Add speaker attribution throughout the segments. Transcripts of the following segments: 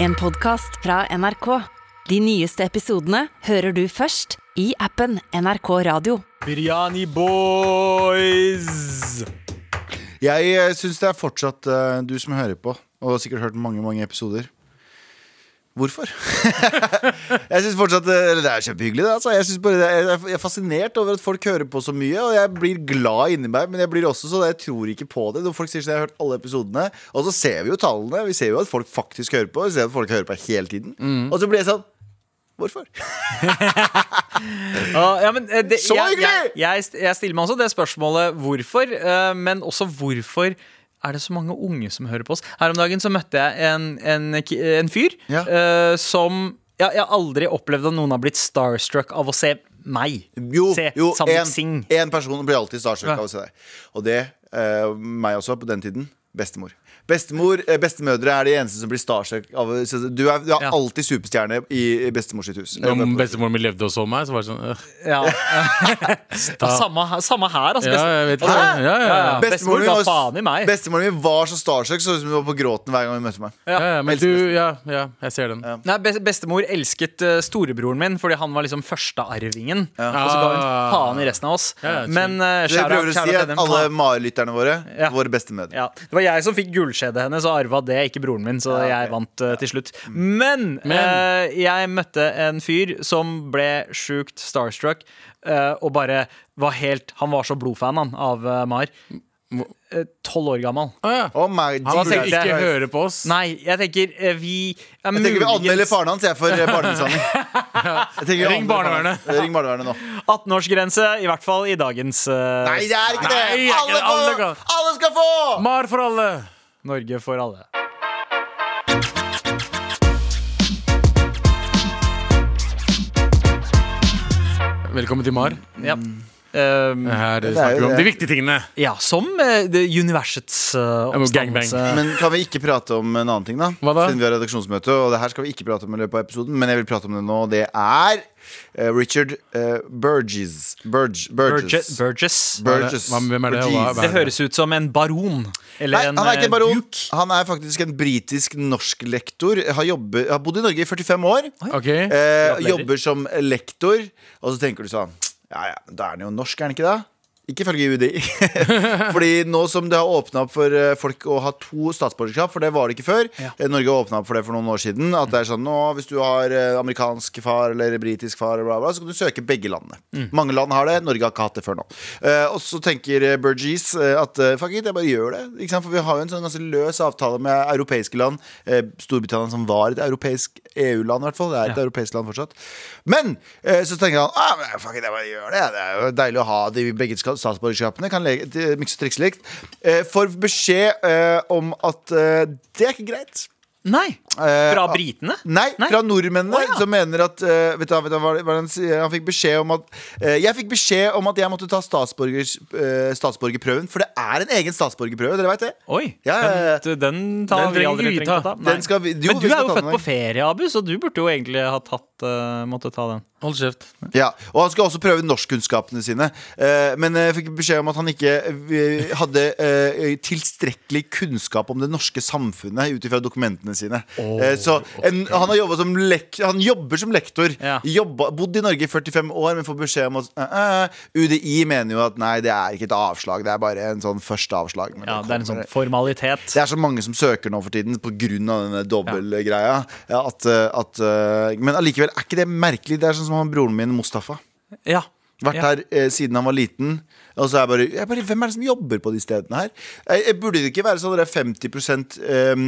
Speaker 1: En podcast fra NRK. De nyeste episodene hører du først i appen NRK Radio.
Speaker 2: Biryani boys!
Speaker 3: Jeg syns det er fortsatt eh, du som hører på, og har sikkert hørt mange mange episoder. Hvorfor? jeg synes fortsatt, eh, eller Det er kjempehyggelig. Det, altså. jeg, synes bare det, jeg er- jeg er fascinert over at folk hører på så mye. Og jeg blir glad inni meg, men jeg blir også sånn, jeg tror ikke på det. Når folk sier sånn, jeg har hørt alle episodene Og så ser vi jo tallene. Vi ser jo at folk faktisk hører på. Vi ser at folk hører på hele tiden Og så blir jeg sånn Hvorfor?
Speaker 2: Ja, ja, men, eh, det,
Speaker 3: Så
Speaker 2: jeg, jeg,
Speaker 3: hyggelig!
Speaker 2: jeg, st- jeg stiller meg også det spørsmålet hvorfor, eh, men også hvorfor er det så mange unge som hører på oss? Her om dagen så møtte jeg en, en, ki- en fyr
Speaker 3: Ja.
Speaker 2: eh, som ja, Jeg har aldri opplevd at noen har blitt starstruck av å se meg.
Speaker 3: Jo,
Speaker 2: se
Speaker 3: jo
Speaker 2: Sandeep Singh.
Speaker 3: en, en person blir alltid starstruck
Speaker 2: Ja.
Speaker 3: av å se deg. Og det, eh, meg også på den tiden, bestemor. Bestemor, eh, Bestemødre er de eneste som blir starstruck av å se deg. Du er, du er
Speaker 2: Ja.
Speaker 3: alltid superstjerne i i bestemor sitt hus.
Speaker 4: Om bestemoren min levde og så meg, så var det sånn øh.
Speaker 2: Ja. ja, samme, samme her, altså.
Speaker 4: Ja,
Speaker 2: best-
Speaker 4: jeg vet ikke.
Speaker 2: Hæ?
Speaker 4: Ja, ja, ja.
Speaker 2: Bestemor ga
Speaker 3: var-
Speaker 2: faen i meg.
Speaker 3: Bestemoren min var så starstruck, så ut som hun var på gråten hver gang hun møtte meg.
Speaker 4: Ja, ja, men
Speaker 3: Elsker
Speaker 4: du, ja, ja, jeg ser den.
Speaker 2: Nei, bes- Bestemor elsket eh, storebroren min fordi han var liksom førstearvingen. Og så ga hun
Speaker 4: Ah.
Speaker 2: faen i resten av oss.
Speaker 4: Ja, ja,
Speaker 2: Men eh,
Speaker 3: Så jeg
Speaker 2: shout-out-
Speaker 3: prøver å si
Speaker 2: shout-out
Speaker 3: at
Speaker 2: til dem.
Speaker 3: alle Mari-lytterne våre,
Speaker 2: Ja.
Speaker 3: våre bestemødre.
Speaker 2: ja. Det var jeg som fikk gullskjedet hennes og arva det, ikke broren min. Så jeg vant eh, til slutt.
Speaker 3: Mm.
Speaker 2: Men, eh, jeg møtte en fyr som ble sjukt starstruck eh, og bare var helt Han var så blodfan, han, av eh, Mar. Eh, Tolv år gammel.
Speaker 4: Å, ja.
Speaker 3: Oh my
Speaker 4: Han
Speaker 3: Jesus
Speaker 4: skal
Speaker 2: tenkte
Speaker 4: ikke
Speaker 3: Christ.
Speaker 4: høre på oss.
Speaker 2: Nei, jeg tenker eh, vi er
Speaker 3: Jeg tenker vi anmelder
Speaker 2: muligens-
Speaker 3: faren hans jeg, for eh, barnemishandling. Jeg tenker vi anmelder
Speaker 4: Ring
Speaker 3: faren
Speaker 4: barnevernet.
Speaker 3: hans. Ring barnevernet nå.
Speaker 2: 18-årsgrense, i hvert fall i dagens eh,
Speaker 3: Nei, det er ikke
Speaker 4: Nei,
Speaker 3: det!
Speaker 4: jeg-
Speaker 3: Alle,
Speaker 4: alle
Speaker 3: får,
Speaker 4: kan-
Speaker 3: alle skal få!
Speaker 4: Mar for alle!
Speaker 2: Norge for alle.
Speaker 4: Velkommen til Mar.
Speaker 2: Ja. Um,
Speaker 4: Her
Speaker 3: er
Speaker 4: snakker vi
Speaker 3: jo
Speaker 4: om
Speaker 3: det.
Speaker 4: de viktige tingene.
Speaker 2: ja, som eh, det universets uh,
Speaker 4: men gangbang.
Speaker 2: oppstandelse.
Speaker 3: Men kan vi ikke prate om en annen ting, da?
Speaker 4: Hva da?
Speaker 3: Siden vi har redaksjonsmøte, og det her skal vi ikke prate om i løpet av episoden, men jeg vil prate om det nå. Det er eh, Richard eh, Burgess. Burge, Burgess.
Speaker 2: Burge- Burgess.
Speaker 3: Burgess.
Speaker 4: Hva- hvem er det, eh, og hva-
Speaker 3: Burgess.
Speaker 4: hva
Speaker 2: Det høres ut som en baron.
Speaker 3: Nei,
Speaker 2: Eller
Speaker 3: han er ikke
Speaker 2: en eh,
Speaker 3: en baron.
Speaker 2: duk.
Speaker 3: Han er faktisk en britisk norsk-lektor. Har, jobbet- har bodd i Norge i 45 år.
Speaker 4: Ok,
Speaker 3: Eh,
Speaker 2: Gratulerer.
Speaker 3: jobber som lektor, og så tenker du sånn Ja, ja, da er han jo norsk, er han ikke det? Ikke ifølge UDI. Fordi nå som det har åpna opp for eh, folk å ha to statsborgerskap, for det var det ikke før
Speaker 2: Ja.
Speaker 3: eh, Norge har åpna opp for det for noen år siden. At det er sånn nå, hvis du har eh, amerikansk far eller britisk far, bla, bla, så kan du søke begge landene.
Speaker 2: Mm.
Speaker 3: Mange land har det, Norge har ikke hatt det før nå. Eh, og så tenker eh, Burgess eh, at eh, fuck it, jeg bare gjør det. Ikke sant? For vi har jo en sånn ganske løs avtale med europeiske land. Eh, Storbritannia som var et europeisk EU-land, i hvert fall. Det er et europeisk land fortsatt. Men eh, så tenker han ah, men fuck it, jeg bare gjør det. Det er jo deilig å ha de begge ska- statsborgerskapene. Kan lege, de- mikse og trikse likt. Eh, får beskjed eh, om at eh, det er ikke greit.
Speaker 2: Nei!
Speaker 3: Eh,
Speaker 2: Fra
Speaker 3: ah,
Speaker 2: britene?
Speaker 3: Nei,
Speaker 2: Nei?
Speaker 3: fra nordmennene,
Speaker 2: Å, ja.
Speaker 3: som mener at eh, Vet du hva- vet du hva hva han sier? Han fikk beskjed om at eh, Jeg fikk beskjed om at jeg måtte ta statsborgers, eh, statsborgerprøven, for det er en egen statsborgerprøve, dere veit det?
Speaker 2: Oi,
Speaker 3: Ja, ja, ja.
Speaker 2: Den, den tar
Speaker 4: Den
Speaker 2: vi
Speaker 4: trenger
Speaker 2: aldri
Speaker 4: vi
Speaker 2: trengt å
Speaker 4: ta.
Speaker 2: ta. Nei.
Speaker 3: Den skal vi- jo,
Speaker 2: Men du
Speaker 3: vi
Speaker 2: er jo
Speaker 3: skal ta den
Speaker 2: født
Speaker 3: en
Speaker 2: på ferie, Abu, så du burde jo egentlig ha tatt, eh, måtte ta den.
Speaker 4: hold kjeft.
Speaker 3: Ja, Og han skulle også prøve norskkunnskapene sine. Eh, men jeg fikk beskjed om at han ikke eh, hadde eh, tilstrekkelig kunnskap om det norske samfunnet ut ifra dokumentene sine. Eh, så en, han, har jobbet som lek, han jobber som lektor.
Speaker 2: Ja.
Speaker 3: Jobba, bodd i Norge i 45 år, men får beskjed om at eh, eh, UDI mener jo at nei, det er ikke et avslag, det er bare en sånn første avslag. men
Speaker 2: Ja,
Speaker 3: det
Speaker 2: Det er en
Speaker 3: kommer-
Speaker 2: sånn formalitet.
Speaker 3: det er så mange som søker nå for tiden pga. denne dobbeltgreia. Ja, at, eh, at, eh, men allikevel, er ikke det merkelig? Det er sånn som han broren min Mustafa.
Speaker 2: Ja.
Speaker 3: Vært
Speaker 2: ja.
Speaker 3: her eh, siden han var liten. Og så er jeg bare, jeg bare Hvem er det som jobber på de stedene her? Jeg, jeg burde det ikke være sånn at det er 50 ehm,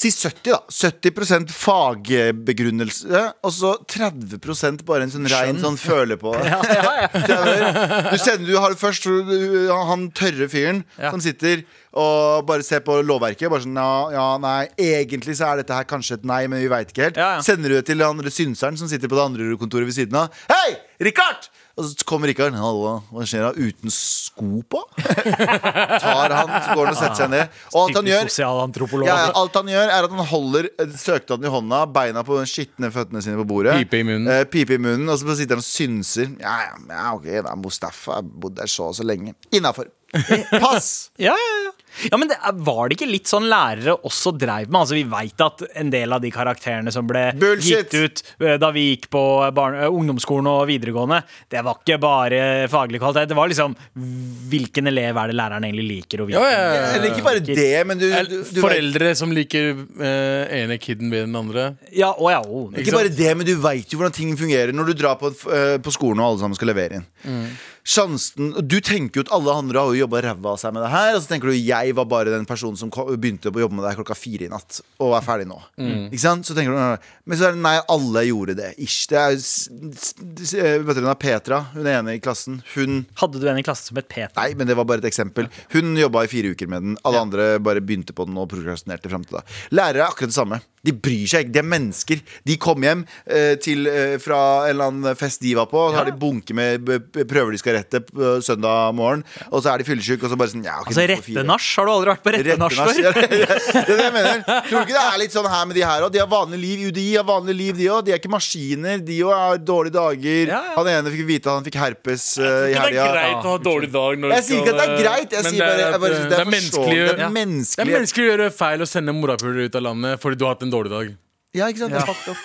Speaker 3: Si 70, da. 70 fagbegrunnelse, og så 30 bare en sånn rein sånn føle på det. du sender du har først tror du, han tørre fyren som sitter og bare ser på lovverket. Bare sånn, ja, ja, nei, Egentlig så er dette her kanskje et nei, men vi veit ikke helt.
Speaker 2: Ja, ja.
Speaker 3: Sender du det til han synseren som sitter på det andre kontoret ved siden av. Hei, Richard! Og så kommer Richard Hallo, hva skjer da? Uten sko på? Tar han, så går han og setter seg ned. Og alt han
Speaker 2: Typisk
Speaker 3: gjør
Speaker 2: sosialantropolog.
Speaker 3: ja, ja, alt han gjør er at han holder eh, søknaden i hånda, beina på den skitne føttene sine på bordet.
Speaker 4: Pipe i munnen.
Speaker 3: Eh, pipe i munnen, Og så sitter han og synser. Ja, ja, ja ok, da, Mustafa har bodd der så og så lenge. Innafor. Pass!
Speaker 2: Ja, ja, ja. ja men det, er- var det ikke litt sånn lærere også dreiv med? Altså, Vi veit at en del av de karakterene som ble gitt
Speaker 3: Bullshit!
Speaker 2: ut eh, da vi gikk på barne, eh, ungdomsskolen og videregående, det var ikke bare faglig kvalitet. Det var liksom hvilken elev er det læreren egentlig liker, og
Speaker 4: Ja,
Speaker 2: hvilken
Speaker 4: ja, ja.
Speaker 3: Eller ikke bare det, men du, du,
Speaker 4: Eller
Speaker 3: du vet,
Speaker 4: Foreldre som liker eh, ene kiden bedre enn den andre.
Speaker 2: Ja, å ja, å.
Speaker 3: Ikke bare det, men du veit jo hvordan ting fungerer når du drar på, eh, på skolen og alle sammen skal levere inn. Sjansen, Du tenker jo at alle andre har jo jobba ræva av seg med det her, og så tenker du jeg var bare den personen som ko- begynte å jobbe med det her klokka fire i natt og er ferdig nå. Ikke sant? Så tenker du, "Nei, nei." Men så er det nei, alle gjorde det. Ish. Det er, jo s- s- s- eh, vet dere, hun er Petra, hun er ene i klassen. Hun
Speaker 2: Hadde du en i klassen som het Peter?
Speaker 3: Nei, men det var bare et eksempel. Hun jobba i fire uker med den. Alle andre bare begynte på den og prokrastinerte frem til da. Lærere er akkurat det samme. De bryr seg ikke. De er mennesker. De kom hjem eh, til, eh, fra en eller annen fest de var på, og så har de bunke med b- b- prøver de skal rette på søndag morgen, og så er de fyllesyke, og så bare sånn ja, ok,
Speaker 2: Altså
Speaker 3: vi får fire.
Speaker 2: rette nach? Har du aldri vært på rette nach før?
Speaker 3: Rettenasj, ja, det er det jeg mener. Tror du ikke det er litt sånn her med de her òg? De har vanlig liv, UDI har vanlig liv, de òg. De er ikke maskiner, de òg har dårlige dager.
Speaker 2: Ja, ja.
Speaker 3: Han ene fikk vite at han fikk herpes eh, i
Speaker 4: Ikke det
Speaker 3: helga.
Speaker 4: er greit å ha dårlig dag når du
Speaker 3: Jeg sier ikke at det er
Speaker 4: skal, eh,
Speaker 3: greit. Jeg
Speaker 4: men
Speaker 3: sier bare, jeg bare synes
Speaker 4: eh,
Speaker 3: det er,
Speaker 4: det er menneskelig
Speaker 3: forståelig. Det er
Speaker 4: ja. Det er
Speaker 3: menneskelig.
Speaker 4: menneskelig å gjøre feil og sende morapulere ut av landet fordi du har hatt en dårlig dag.
Speaker 3: Ja, ikke sant? Det er fucked up.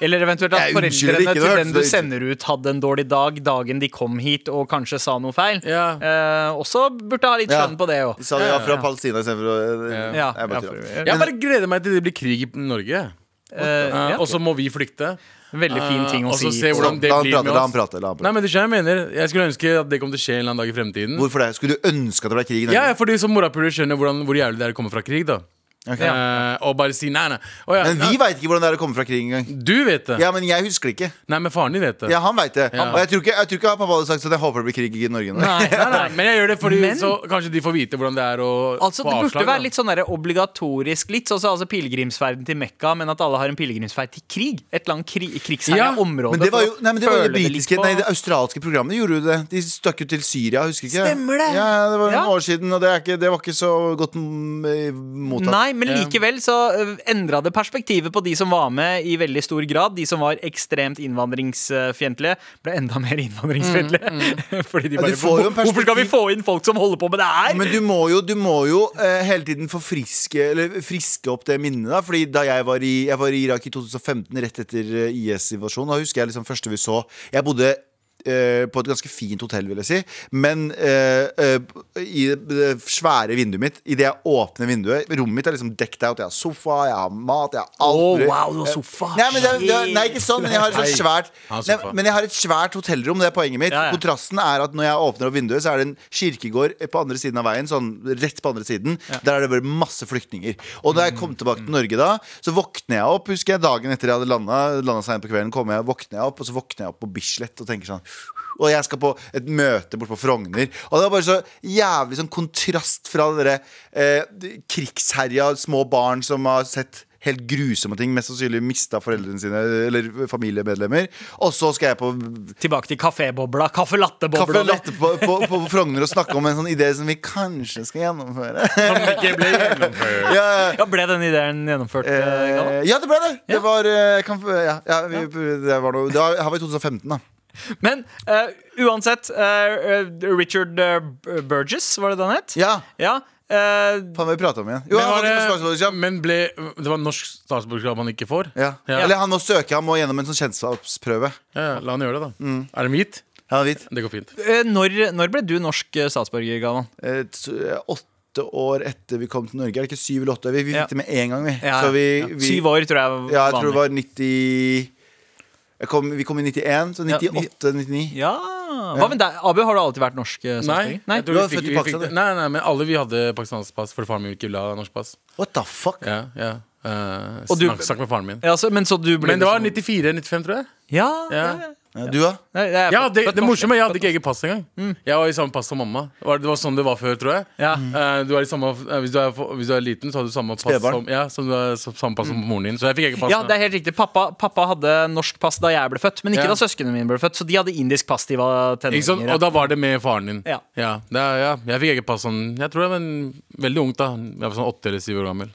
Speaker 2: Eller eventuelt at
Speaker 3: Jeg unnskylder
Speaker 2: foreldrene
Speaker 3: ikke, det
Speaker 2: til
Speaker 3: hørtes
Speaker 2: den du
Speaker 3: det ut.
Speaker 2: sender ut, hadde en dårlig dag dagen de kom hit og kanskje sa noe feil.
Speaker 4: Ja.
Speaker 2: Eh, også burde ha litt
Speaker 3: Ja.
Speaker 2: skjønn på det òg.
Speaker 3: De sa ja fra Palestina istedenfor å
Speaker 2: Ja,
Speaker 3: Jeg bare
Speaker 2: ja,
Speaker 3: tuller.
Speaker 2: for-
Speaker 4: Jeg bare gleder meg til det blir krig i Norge.
Speaker 2: Eh,
Speaker 4: Eh,
Speaker 2: ja.
Speaker 4: Og så må vi flykte.
Speaker 2: Veldig fin ting å
Speaker 4: Eh, og så
Speaker 2: si.
Speaker 4: se hvordan det
Speaker 3: La han
Speaker 4: blir
Speaker 3: prate,
Speaker 4: med
Speaker 3: la han
Speaker 4: oss.
Speaker 3: prate. La han
Speaker 4: Nei,
Speaker 3: prate.
Speaker 4: men du skjønner hva jeg mener Jeg skulle ønske at det kom til å skje en eller annen dag i fremtiden.
Speaker 3: Hvorfor det? Skulle du ønske at det ble krig i Norge?
Speaker 4: Ja, ja, fordi som morapuler skjønner hvordan, hvor jævlig det er å komme fra krig, da.
Speaker 3: Ok.
Speaker 4: Eh, og bare si nei, nei. Å, ja,
Speaker 3: Men vi
Speaker 4: nei.
Speaker 3: veit ikke hvordan det er å komme fra krig engang.
Speaker 4: Du vet det.
Speaker 3: Ja, men jeg husker det ikke.
Speaker 4: Nei, men faren din vet det.
Speaker 3: Ja, han vet det.
Speaker 4: Ja.
Speaker 3: Og jeg tror ikke, jeg tror ikke pappa hadde sagt sånn jeg håper det blir krig i Norge nå.
Speaker 4: Nei, nei, nei, men jeg gjør det fordi
Speaker 2: Men-
Speaker 4: så kanskje de får vite hvordan det er å
Speaker 2: Altså,
Speaker 4: få
Speaker 2: det burde
Speaker 4: avslag. da.
Speaker 2: være litt sånn der obligatorisk, litt sånn som altså, pilegrimsferden til Mekka, men at alle har en pilegrimsferd til krig. Et eller annet krig, krigsherja
Speaker 4: Ja,
Speaker 2: område.
Speaker 3: Men det var
Speaker 2: for
Speaker 3: jo
Speaker 2: å
Speaker 3: nei, men det, var jo
Speaker 2: føle
Speaker 3: det
Speaker 2: litt
Speaker 3: britiske
Speaker 2: på-
Speaker 3: Nei, det australske programmet gjorde jo det. De stakk jo til Syria, husker ikke jeg.
Speaker 2: Stemmer det!
Speaker 3: Ja, det var noen
Speaker 2: Ja.
Speaker 3: år siden, og det, er ikke, det var ikke så godt mm, mottatt.
Speaker 2: Nei, men likevel så endra det perspektivet på de som var med i veldig stor grad. De som var ekstremt innvandringsfiendtlige, ble enda mer innvandringsfiendtlige. Fordi de
Speaker 3: Ja, du
Speaker 2: bare
Speaker 3: får jo en
Speaker 2: Hvorfor skal vi
Speaker 3: perspektiv-
Speaker 2: få inn folk som holder på med det her?!
Speaker 3: Men du må jo, du må jo eh, hele tiden forfriske Eller friske opp det minnet. da Fordi da jeg var i, jeg var i Irak i 2015, rett etter eh, IS-invasjonen, da husker jeg liksom første vi så Jeg bodde eh, på et ganske fint hotell, vil jeg si. Men eh, eh, i det- det svære vinduet mitt, idet jeg åpner vinduet Rommet mitt er liksom decked out. Jeg har sofa, jeg har mat, jeg har alt.
Speaker 2: sånn, Å,
Speaker 3: mulig.
Speaker 2: wow, du har sofa.
Speaker 3: Nei, men det, er- det, er- nei, ikke sånn, men jeg har et sånt svært
Speaker 4: Han har
Speaker 3: nei,
Speaker 4: sofa.
Speaker 3: Men jeg har et svært hotellrom, det er poenget mitt.
Speaker 2: Ja, ja.
Speaker 3: Kontrasten er at når jeg åpner opp vinduet, så er det en kirkegård på andre siden av veien. Sånn rett på andre siden Der er det bare masse flyktninger. Og da jeg kom tilbake til Norge da, så våkner jeg opp. Husker jeg dagen etter jeg hadde landa, landa seint på kvelden, kom jeg, våkner jeg opp, og så våkner jeg opp på Bislett og tenker sånn og jeg skal på et møte borte på Frogner. Og det var bare så jævlig sånn kontrast fra dere eh, krigsherja små barn som har sett helt grusomme ting, mest sannsynlig mista foreldrene sine eller familiemedlemmer. Og så skal jeg på
Speaker 2: Tilbake til kafébobla. Kaffe
Speaker 3: Kaffe
Speaker 2: latte-bobla.
Speaker 3: og latte på, på, på Frogner og snakke om en sånn idé som vi kanskje skal gjennomføre.
Speaker 4: Som ikke ble gjennomført.
Speaker 3: ja,
Speaker 2: Ja, ble den ideen gjennomført? eh, Galvan?
Speaker 3: eh, ja, det ble det! Det var, eh, kan, ja, ja, vi, det var noe Det var- her var i 2015, da.
Speaker 2: Men eh, uansett, eh, eh, Richard eh, B- Burgess, var det den het?
Speaker 3: Ja,
Speaker 2: Ja, eh,
Speaker 3: faen vi prata om igjen. Jo,
Speaker 4: Men
Speaker 3: han var
Speaker 4: var
Speaker 3: ikke på
Speaker 4: det,
Speaker 3: statsborgerskap.
Speaker 4: men ble, det var norsk statsborgerskap han ikke får?
Speaker 3: Ja.
Speaker 4: Ja.
Speaker 3: Eller han må søke, han må gjennom en sånn kjennskapsprøve.
Speaker 4: Ja, ja, la han gjøre det, da.
Speaker 3: Mm.
Speaker 4: Er han hvit?
Speaker 3: Han er hvit.
Speaker 4: Det går fint.
Speaker 2: eh, når, når ble du norsk eh, statsborger, Galvan?
Speaker 3: Eh, t- Åtte år etter vi kom til Norge. Er det ikke syv eller åtte? Vi, vi
Speaker 2: Ja.
Speaker 3: fikk det med én gang, vi.
Speaker 2: Ja,
Speaker 3: Så vi,
Speaker 2: ja.
Speaker 3: vi
Speaker 2: Syv år, tror jeg. var
Speaker 3: Ja, jeg tror det
Speaker 2: vanlig.
Speaker 3: var 90 jeg kom, Vi kom i 91, så
Speaker 2: Ja,
Speaker 3: 98-99.
Speaker 2: Ja. Hva med deg? Abu, har du alltid vært norsk eh,
Speaker 4: Nei,
Speaker 2: statsborger?
Speaker 4: jeg tror
Speaker 3: Du var
Speaker 4: vi fikk,
Speaker 3: født i
Speaker 4: vi fikk,
Speaker 3: Pakistan, du.
Speaker 4: nei, nei, men alle vi hadde pakistansk pass, for faren min ikke ville ha norsk pass.
Speaker 3: What the fuck?
Speaker 4: Ja, ja. Eh,
Speaker 2: Og du-
Speaker 4: snakk, snakk med faren min.
Speaker 2: Ja, så, men så du ble
Speaker 4: Men det var
Speaker 2: liksom-
Speaker 4: 94-95, tror jeg.
Speaker 2: Ja, ja.
Speaker 4: Ja.
Speaker 3: Ja, Du, da?
Speaker 2: Nei, jeg er
Speaker 4: Ja,
Speaker 2: født-
Speaker 4: det,
Speaker 2: født
Speaker 4: det
Speaker 2: norsk.
Speaker 4: morsomme, Jeg hadde ikke eget pass engang. Jeg var Mm. i samme pass som mamma. Det var- Det var sånn det var før, tror jeg.
Speaker 2: Ja.
Speaker 4: Eh, du er i samme, eh, hvis, du er, for- hvis du er liten, så har du samme pass,
Speaker 3: Spedbarn.
Speaker 4: som, ja, som, du er, som- samme pass som moren din. Så jeg fikk eget pass.
Speaker 2: Ja,
Speaker 4: nå.
Speaker 2: det er helt riktig. Pappa, pappa hadde norsk pass da jeg ble født, men ikke
Speaker 4: Ja.
Speaker 2: da søsknene mine ble født. Så de hadde indisk pass til de var
Speaker 4: Ikke sant?
Speaker 2: tenåringer.
Speaker 4: Og da var det med faren din.
Speaker 2: Ja.
Speaker 4: det er, ja. Jeg fikk eget pass sånn Jeg tror jeg var en, veldig ung, da. Jeg var sånn åtte eller syv år gammel.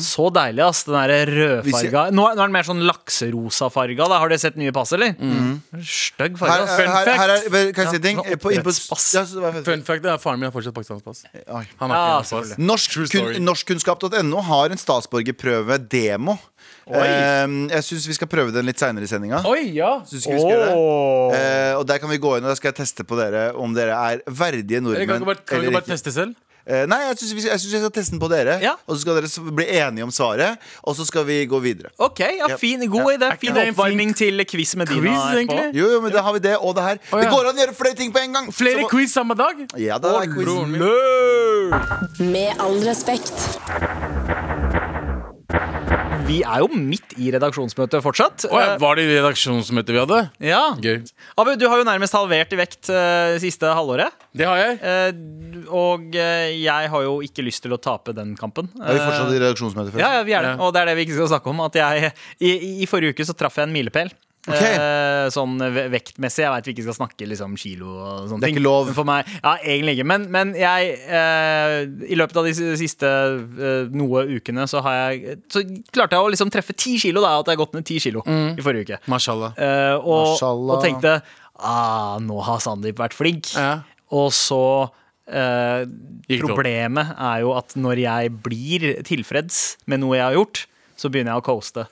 Speaker 2: Så deilig, ass. Den der
Speaker 3: Hvis jeg-
Speaker 2: rødfarga.
Speaker 4: Mm.
Speaker 2: Nå, er- nå er den mer sånn lakserosa farga. Da. Har dere sett nye pass, eller? Stygg farge.
Speaker 3: Her,
Speaker 2: da. Fun
Speaker 3: her, her er,
Speaker 2: fact.
Speaker 3: vel, kan jeg si
Speaker 2: Ja,
Speaker 3: ting?
Speaker 2: han har
Speaker 3: På innpå-
Speaker 2: oppdrettspass.
Speaker 3: Ja, så det var fun fact.
Speaker 4: Fun fact er at faren min har fortsatt pakistansk pass.
Speaker 3: Oi.
Speaker 4: Han har
Speaker 2: Ja,
Speaker 4: ikke norsk pass.
Speaker 3: Norsk
Speaker 4: True
Speaker 3: kun,
Speaker 4: story.
Speaker 3: norskkunnskap.no har en statsborgerprøve-demo. Eh, jeg syns vi skal prøve den litt seinere i sendinga.
Speaker 4: Oi, ja!
Speaker 3: Synes ikke vi skal gjøre det?
Speaker 2: Åh.
Speaker 3: Eh, og der kan vi gå inn, og da skal jeg teste på dere om dere er verdige
Speaker 4: Eller kan
Speaker 3: nordmenn
Speaker 4: du bare, kan du
Speaker 3: eller
Speaker 4: bare
Speaker 3: ikke.
Speaker 4: teste selv?
Speaker 3: Eh, nei, jeg syns jeg, synes jeg skal teste den på dere,
Speaker 2: Ja.
Speaker 3: og så skal dere s- bli enige om svaret. Og så skal vi gå videre.
Speaker 2: OK, ja,
Speaker 3: Ja.
Speaker 2: fin, god idé. Fin
Speaker 4: det en
Speaker 2: oppvarming til quiz med Dina.
Speaker 4: Quiz,
Speaker 2: etterpå.
Speaker 4: egentlig?
Speaker 3: Jo, jo, men da har vi det og det her.
Speaker 4: Å, ja.
Speaker 3: Det går an å gjøre flere ting på en gang!
Speaker 4: Flere
Speaker 3: Så-
Speaker 4: quiz samme dag?
Speaker 3: Ja, det er quiz.
Speaker 4: Broren min.
Speaker 1: Med all respekt.
Speaker 2: Vi er jo midt i redaksjonsmøtet fortsatt.
Speaker 4: Å, ja, var det i redaksjonsmøtet vi hadde?
Speaker 2: Eh, ja.
Speaker 4: Gøy.
Speaker 2: Abu, du har jo nærmest halvert i vekt eh, siste halvåret.
Speaker 4: Det har jeg.
Speaker 2: Eh, og eh, jeg har jo ikke lyst til å tape den kampen.
Speaker 3: Er vi fortsatt i redaksjonsmøte?
Speaker 2: Ja, ja, vi er det.
Speaker 4: Ja.
Speaker 2: Og det er det vi ikke skal snakke om. At jeg, i, I forrige uke så traff jeg en milepæl.
Speaker 3: Ok.
Speaker 2: Eh, sånn ve- vektmessig. Jeg veit vi ikke skal snakke liksom, kilo og sånne
Speaker 3: Det er
Speaker 2: ting.
Speaker 3: ikke lov.
Speaker 2: Men For meg, ja, egentlig ikke. Men, men jeg eh, I løpet av de s- siste eh, noe ukene så har jeg Så klarte jeg å liksom treffe ti kilo, da. At jeg har gått ned ti kilo
Speaker 3: Mm.
Speaker 2: i forrige uke.
Speaker 4: Mashallah.
Speaker 2: Eh, og,
Speaker 3: Mashallah.
Speaker 2: og tenkte ah, nå har Sandeep vært flink.
Speaker 4: Ja.
Speaker 2: Og så eh,
Speaker 4: Gikk det opp.
Speaker 2: Problemet er jo at når jeg blir tilfreds med noe jeg har gjort, så begynner jeg å coaste.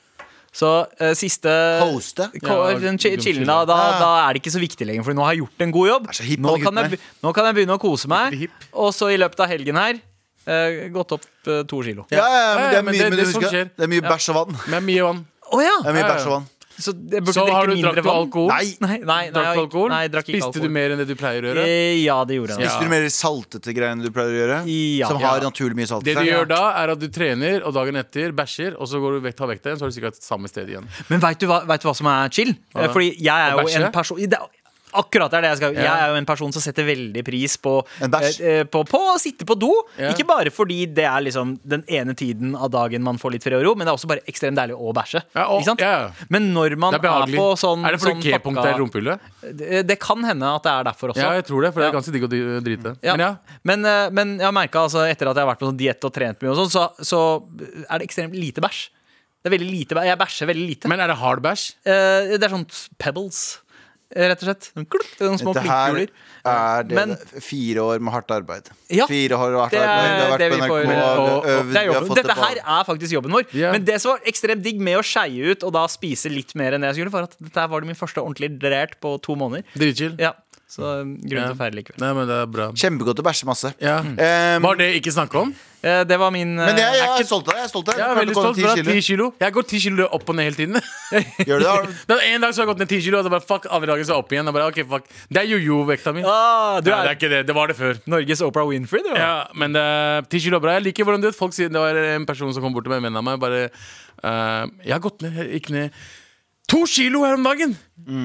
Speaker 2: Så eh, siste
Speaker 3: Poste?
Speaker 2: Ko eh,
Speaker 4: Ja,
Speaker 2: den chi-
Speaker 4: dum
Speaker 2: chillen,
Speaker 4: chille.
Speaker 2: da, da,
Speaker 3: Ja.
Speaker 2: da er det ikke så viktig lenger, for nå har jeg gjort en god jobb.
Speaker 3: Er så hipp,
Speaker 2: nå,
Speaker 3: alle
Speaker 2: kan
Speaker 3: guttene.
Speaker 2: jeg, be- nå kan jeg begynne å kose meg.
Speaker 4: Hipp.
Speaker 2: Og så i løpet av helgen her eh, gått opp eh, to kilo. Å
Speaker 3: Ja, ja, ja, men det
Speaker 4: Ja,
Speaker 3: er
Speaker 4: ja, men
Speaker 3: mye,
Speaker 4: det-
Speaker 3: men
Speaker 4: det
Speaker 3: du
Speaker 4: som
Speaker 3: husker,
Speaker 4: skjer.
Speaker 3: det er mye bæsj og vann.
Speaker 4: Med mye vann.
Speaker 3: Det er
Speaker 2: ja!
Speaker 3: mye
Speaker 4: Ja, ja.
Speaker 3: bæsj og vann
Speaker 2: Så jeg burde
Speaker 4: Så
Speaker 2: drikke
Speaker 4: har du
Speaker 2: mindre
Speaker 4: drakk du
Speaker 2: vann.
Speaker 4: alkohol?
Speaker 3: Nei.
Speaker 2: Nei, nei, nei,
Speaker 4: Drakk du
Speaker 2: jeg-
Speaker 4: alkohol?
Speaker 2: nei jeg drakk ikke
Speaker 4: Spiste
Speaker 2: alkohol.
Speaker 4: du mer enn det du pleier å gjøre?
Speaker 2: Eh, Ja, det gjorde jeg.
Speaker 4: Ja.
Speaker 3: Spiser du mer saltete greiene du pleier å gjøre?
Speaker 2: Ja.
Speaker 3: Som har
Speaker 2: Ja.
Speaker 3: naturlig mye salt i
Speaker 4: Det du
Speaker 3: seg?
Speaker 4: gjør da, er at du trener, og dagen etter bæsjer, og så går du vekk, tar vekk den, så er du sikkert samme sted igjen.
Speaker 2: Men veit du, hva- vet du hva som er chill?
Speaker 4: Hva da?
Speaker 2: Fordi jeg er
Speaker 4: Å
Speaker 2: jo en
Speaker 4: bæsje?
Speaker 2: person det, er- Akkurat det er det jeg skal
Speaker 4: Ja.
Speaker 2: Jeg er jo en person som setter veldig pris på
Speaker 3: En bæsj?
Speaker 2: eh, eh, på, på å sitte på do.
Speaker 4: Ja.
Speaker 2: Ikke bare fordi det er liksom den ene tiden av dagen man får litt fred og ro, men det er også bare ekstremt deilig å bæsje.
Speaker 4: Ja, og-
Speaker 2: ikke sant?
Speaker 4: ja, ja.
Speaker 2: Men når man
Speaker 4: Det er
Speaker 2: er,
Speaker 4: behagelig.
Speaker 2: på sånn
Speaker 4: er det fordi
Speaker 2: sånn
Speaker 4: G-punktet
Speaker 2: pakka-
Speaker 4: er rumpehullet?
Speaker 2: det, det kan hende at det er derfor også.
Speaker 4: Ja, jeg tror det, for det
Speaker 2: Ja.
Speaker 4: er ganske digg å di- drite.
Speaker 2: Ja.
Speaker 4: Men ja,
Speaker 2: Men, eh, men jeg har merka altså, etter at jeg har vært på sånn diett og trent mye, og sånn, så, så er det ekstremt lite bæsj. Det er veldig lite bæ- Jeg bæsjer veldig lite.
Speaker 4: men er det hard bæsj?
Speaker 2: Eh, det er sånn pebbles, eh, rett og slett. Sånn klutt, Noen små
Speaker 3: Dette her
Speaker 2: flytekuler.
Speaker 3: er det
Speaker 2: Men-
Speaker 3: det- fire år med hardt arbeid.
Speaker 2: Ja,
Speaker 3: fire år med hardt
Speaker 2: det er
Speaker 3: arbeid. Det har vært
Speaker 2: det vi
Speaker 3: på
Speaker 2: får-
Speaker 3: NRK.
Speaker 4: eh, og- og-
Speaker 3: vi har øvd,
Speaker 2: Det er
Speaker 3: vi har
Speaker 2: jobben.
Speaker 3: fått
Speaker 2: Dette
Speaker 3: det på-
Speaker 2: her er faktisk jobben vår.
Speaker 4: Ja.
Speaker 2: Men det som var ekstremt digg med å skeie ut, og da spise litt mer enn det jeg skulle, var at dette her var det min første ordentlig drert på to måneder.
Speaker 4: Dritchill.
Speaker 2: Ja, Så eh, grunn til å feire likevel.
Speaker 4: Nei, men det er bra.
Speaker 3: Kjempegodt å bæsje masse.
Speaker 4: Ja.
Speaker 3: Ehm,
Speaker 4: Var det ikke snakke om?
Speaker 2: Eh, det var min eh,
Speaker 3: men jeg, jeg
Speaker 2: er
Speaker 3: er
Speaker 2: ikke-
Speaker 3: stolt av deg. Jeg er stolt av deg.
Speaker 4: Jeg er
Speaker 3: Du klarte
Speaker 4: veldig
Speaker 3: å gå
Speaker 4: stolt.
Speaker 3: ned
Speaker 4: for det er
Speaker 3: 10
Speaker 4: 10
Speaker 3: kilo.
Speaker 4: kilo. Jeg går 10 kilo opp og ned hele tiden.
Speaker 3: Gjør du det? Har du-
Speaker 4: Det var En dag så har jeg gått ned 10 kilo, og så bare fuck, andre dagen så opp igjen. Og bare, ok, fuck, Det er jojo-vekta mi.
Speaker 2: ah, Du
Speaker 4: Nei, det er
Speaker 2: er
Speaker 4: ikke det. Det var det før.
Speaker 2: Norges Oprah Winfrey, du.
Speaker 4: Ja, men det er 10 kilo er bra. Jeg liker hvordan du vet folk sier Det var en person som kom bort til meg, en venn av meg, bare eh, Jeg har gått ned, jeg gikk ned to kilo her om dagen!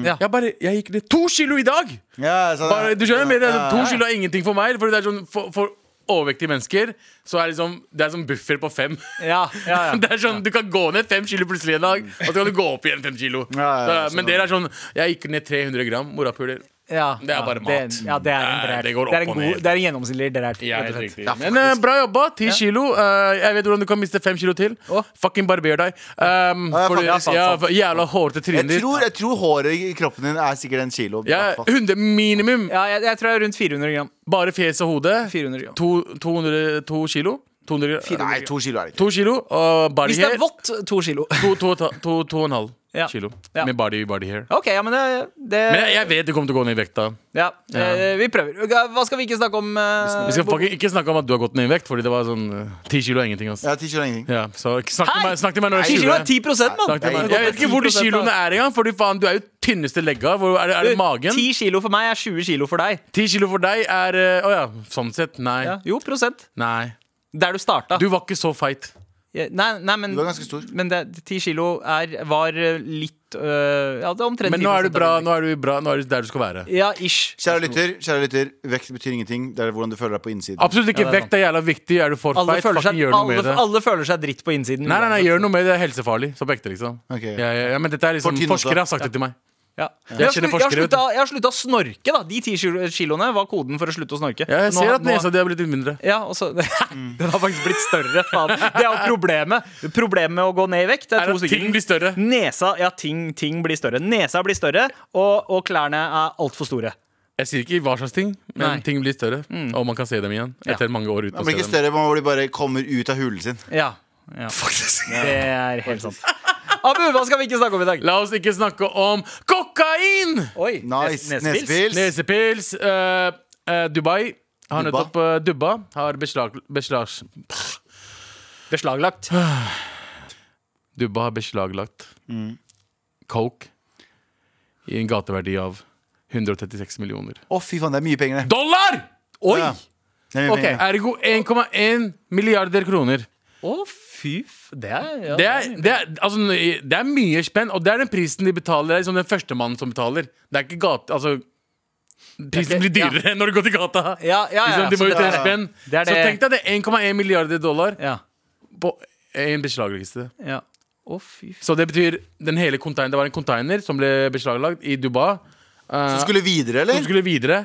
Speaker 2: Ja.
Speaker 4: Jeg bare, jeg gikk ned to kilo i dag!
Speaker 3: Ja, sånn,
Speaker 4: Bare, du skjønner, men det er
Speaker 3: ja,
Speaker 4: sånn, To
Speaker 3: ja.
Speaker 4: kilo er ingenting for meg. Fordi det er sånn, for, for overvektige mennesker Så er det, liksom, det er som buffer på fem.
Speaker 2: Ja, ja, ja.
Speaker 4: Det er sånn, Du kan gå ned fem kilo plutselig en dag, og så kan du gå opp igjen fem kilo.
Speaker 3: Ja, ja, ja,
Speaker 4: Så- men dere er sånn Jeg gikk ned 300 gram morapuler.
Speaker 2: Ja,
Speaker 4: Det er
Speaker 2: ja,
Speaker 4: bare
Speaker 2: Det,
Speaker 4: mat.
Speaker 2: ja, det er en
Speaker 4: Nei,
Speaker 2: drert.
Speaker 4: det går
Speaker 2: Det er
Speaker 4: opp
Speaker 2: en
Speaker 4: og
Speaker 2: god-
Speaker 4: ned.
Speaker 2: Det er en gjennomsnittlig drert.
Speaker 4: Ja,
Speaker 2: rett og slett.
Speaker 4: riktig.
Speaker 3: Ja,
Speaker 4: Men eh,
Speaker 3: faktisk.
Speaker 4: bra jobba. Ti kilo. Eh, jeg vet hvordan du kan miste fem kilo til.
Speaker 2: Å.
Speaker 4: Fucking barber deg. Um,
Speaker 3: Ja,
Speaker 4: fordi-
Speaker 3: ja, sant,
Speaker 4: ja,
Speaker 3: sant.
Speaker 4: for- jævla hårete trynet
Speaker 3: Jeg
Speaker 4: ditt.
Speaker 3: tror, jeg tror håret i kroppen din er sikkert en kilo. i
Speaker 4: Ja,
Speaker 3: hvert fall.
Speaker 4: 100 minimum.
Speaker 2: Ja, jeg, jeg tror jeg er rundt 400 gram.
Speaker 4: Bare fjes og hode.
Speaker 2: 400 gram.
Speaker 4: To, 200, to kilo. 200,
Speaker 3: Nei, to kilo er det ikke.
Speaker 4: To kilo og body
Speaker 2: Hvis det
Speaker 4: hair.
Speaker 2: er vått, to kilo.
Speaker 4: To, to, to, to, to og en halv
Speaker 2: Ja.
Speaker 4: kilo
Speaker 2: Ja.
Speaker 4: med body, body hair.
Speaker 2: Ok, ja, men det, det
Speaker 4: Men jeg, jeg vet du kommer til å gå ned i vekta.
Speaker 2: ja, eh, Vi prøver. Hva skal vi ikke snakke om? eh,
Speaker 4: Vi skal
Speaker 2: Bo-
Speaker 4: fucking ikke snakke om at du har gått ned i vekt, Fordi det var sånn ti kilo er ingenting. Altså.
Speaker 3: Ja, ti kilo er ingenting.
Speaker 4: Ja, så ikke snakk til
Speaker 2: Hei!
Speaker 4: meg, snakk til meg når du er
Speaker 2: 10 kilo er 10 mann!
Speaker 4: Snakk til meg.
Speaker 3: Nei,
Speaker 4: Jeg vet ikke hvor de kiloene er engang, Fordi faen, du er jo tynneste legga. Hvor er det, er det magen?
Speaker 2: 10 kilo for meg er 20 kilo for deg.
Speaker 4: 10 kilo for deg er eh, Å ja, sånn sett. Nei.
Speaker 2: Ja. Ah. Jo, prosent.
Speaker 4: Nei.
Speaker 2: Der du starta.
Speaker 4: Du var ikke så feit.
Speaker 2: Ja, Nei, nei, men,
Speaker 3: Du er ganske stor.
Speaker 2: Men det, 10 kilo er, var eh, litt øh, Ja, det er omtrent
Speaker 4: Men nå
Speaker 2: 10%
Speaker 4: er du bra,
Speaker 2: av det.
Speaker 4: nå er du bra, nå er du der du skal være.
Speaker 2: Ja, ish.
Speaker 3: Kjære lytter, kjære lytter, vekt betyr ingenting. Det er hvordan du føler deg på innsiden.
Speaker 4: Absolutt ikke
Speaker 2: Ja, det er
Speaker 4: vekt er jævla viktig. Er du for
Speaker 2: Alle
Speaker 4: feit,
Speaker 2: føler,
Speaker 4: fucking
Speaker 2: seg,
Speaker 4: gjør noe
Speaker 2: alle,
Speaker 4: med det.
Speaker 2: alle føler seg dritt på innsiden.
Speaker 4: Nei, nei, nei, gjør noe med det. Det er helsefarlig. Så på ekte, liksom.
Speaker 3: Ok.
Speaker 4: Ja, ja, ja, men dette er
Speaker 3: For
Speaker 4: liksom
Speaker 3: tynn også.
Speaker 4: Forskere har sagt det til meg.
Speaker 2: Ja.
Speaker 4: Jeg
Speaker 2: Jeg, har
Speaker 4: kjenner
Speaker 2: slu- jeg, har
Speaker 4: forskere, vet
Speaker 2: slutta, jeg har slutta å snorke, da. De ti kilo- kiloene var koden for å slutte å snorke.
Speaker 4: Ja, jeg
Speaker 2: Nå-
Speaker 4: ser at
Speaker 2: nå-
Speaker 4: nesa di har blitt litt mindre.
Speaker 2: ja, og så,
Speaker 4: Mm.
Speaker 2: Den har faktisk blitt større. Faen. Det er jo problemet. Problemet med å gå ned i vekt det
Speaker 4: Er
Speaker 2: er to
Speaker 4: at
Speaker 2: stykker.
Speaker 4: ting blir større.
Speaker 2: Nesa, ja, ting, ting blir større. Nesa blir større, og, og klærne er altfor store.
Speaker 4: Jeg sier ikke hva slags ting, men
Speaker 2: Nei. Mm.
Speaker 4: ting blir større. Og man kan se dem igjen
Speaker 2: Ja.
Speaker 4: etter mange år uten
Speaker 3: Man
Speaker 4: å
Speaker 3: blir ikke
Speaker 4: se dem.
Speaker 3: større, man blir bare kommer ut av hulen sin.
Speaker 2: Ja, ja. Faktisk. Det er helt sant. Abu, hva skal vi ikke snakke om i dag?
Speaker 4: La oss ikke snakke om kokain!
Speaker 2: Oi, nes-
Speaker 3: Nice.
Speaker 2: nesepils.
Speaker 3: Nesepils.
Speaker 4: Nesepils. eh, eh, Dubai har
Speaker 3: Dubba.
Speaker 4: nettopp eh, dubba. Har beslag... beslag
Speaker 2: Beslaglagt.
Speaker 4: Dubba har beslaglagt
Speaker 3: Mm.
Speaker 4: coke i en gateverdi av 136 millioner
Speaker 3: Å, fy faen, det er mye penger, det.
Speaker 4: dollar! Oi! eh,
Speaker 3: Ja. Det er mye
Speaker 2: Ok.
Speaker 3: penger.
Speaker 4: Ergo 1,1 milliarder kroner.
Speaker 2: Å, fy f... Det er, ja,
Speaker 4: Det er, det, er, altså, det er mye spenn, og det er den prisen de betaler. Det er liksom den første mannen som betaler. Det er ikke gate... Altså, prisen blir dyrere når du går til gata.
Speaker 2: Ja, ja, ja,
Speaker 4: liksom, de må
Speaker 2: så
Speaker 4: jo
Speaker 2: det-
Speaker 4: tjene spenn.
Speaker 2: Det er
Speaker 4: Så
Speaker 2: det-
Speaker 4: tenk deg det. 1,1 milliarder dollar
Speaker 2: Ja.
Speaker 4: på en beslagliste.
Speaker 2: ja. Å, fy f...
Speaker 4: Så det betyr den hele container, Det var en container som ble beslaglagt i Dubai.
Speaker 3: Så skulle vi videre,
Speaker 4: Hun
Speaker 3: eller?
Speaker 4: skulle videre,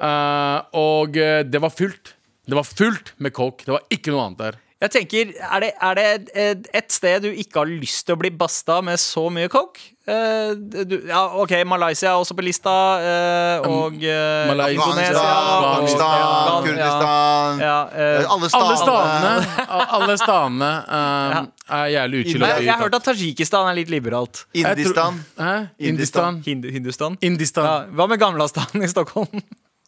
Speaker 4: eh, og eh, det var fullt. Det var fullt med coke. Det var ikke noe annet der.
Speaker 2: Jeg tenker, er det, er det et- et sted du ikke har lyst til å bli basta med så mye coke? Eh, du, ja, OK, Malaysia er også på lista, eh, og eh,
Speaker 4: Malaysia,
Speaker 2: Indonesia
Speaker 3: Afghanistan,
Speaker 2: Afghanistan,
Speaker 3: Pakistan, Kurdistan
Speaker 2: Ja, ja, eh,
Speaker 3: Alle
Speaker 4: Alle
Speaker 3: statene.
Speaker 4: stanene, alle stanene eh, er jævlig utskylda.
Speaker 2: jeg, jeg har hørt at Tadsjikistan er litt liberalt.
Speaker 3: Indistan.
Speaker 4: Hæ? Indistan.
Speaker 3: Indistan.
Speaker 2: Hindu, Hindustan?
Speaker 4: Indistan.
Speaker 2: Ja, hva med Gamlastan i Stockholm?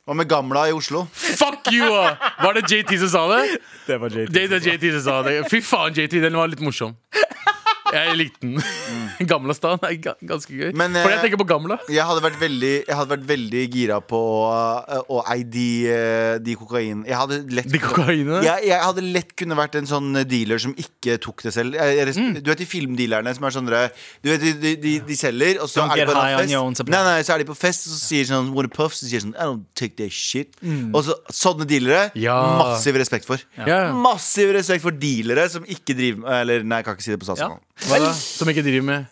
Speaker 3: Hva med Gamla i Oslo?
Speaker 4: Fuck you! ah! Var det JT som sa det?
Speaker 2: Det var
Speaker 4: Det er JT som sa det. Fy faen, JT, den var litt morsom. Jeg likte den. Gamla stan er ga- ganske gøy.
Speaker 3: Men, eh,
Speaker 4: Fordi jeg tenker på gamla.
Speaker 3: Jeg hadde vært veldig, jeg hadde vært veldig gira på uh, å eie de, uh, de kokain... Jeg hadde lett
Speaker 4: De kokainene.
Speaker 3: jeg, jeg hadde lett kunne vært en sånn dealer som ikke tok det selv. Jeg, jeg, res- Du vet de filmdealerne som er sånn dere- Du vet, de, de, de, de selger, og så
Speaker 2: Don't
Speaker 3: er de
Speaker 2: get
Speaker 3: på
Speaker 2: high on your
Speaker 3: en
Speaker 2: own
Speaker 3: fest.
Speaker 2: supply.
Speaker 3: Nei, nei, så er de på fest, og så sier de sånn What a puff? Så sier de sånn I don't take that shit. Og så sånne dealere.
Speaker 4: Ja.
Speaker 3: Massiv respekt for.
Speaker 4: Ja.
Speaker 3: Massiv respekt for dealere som ikke driver med Eller nei, jeg kan ikke si det på
Speaker 2: Ja.
Speaker 3: statskanalen.
Speaker 4: Hva da? Som ikke driver med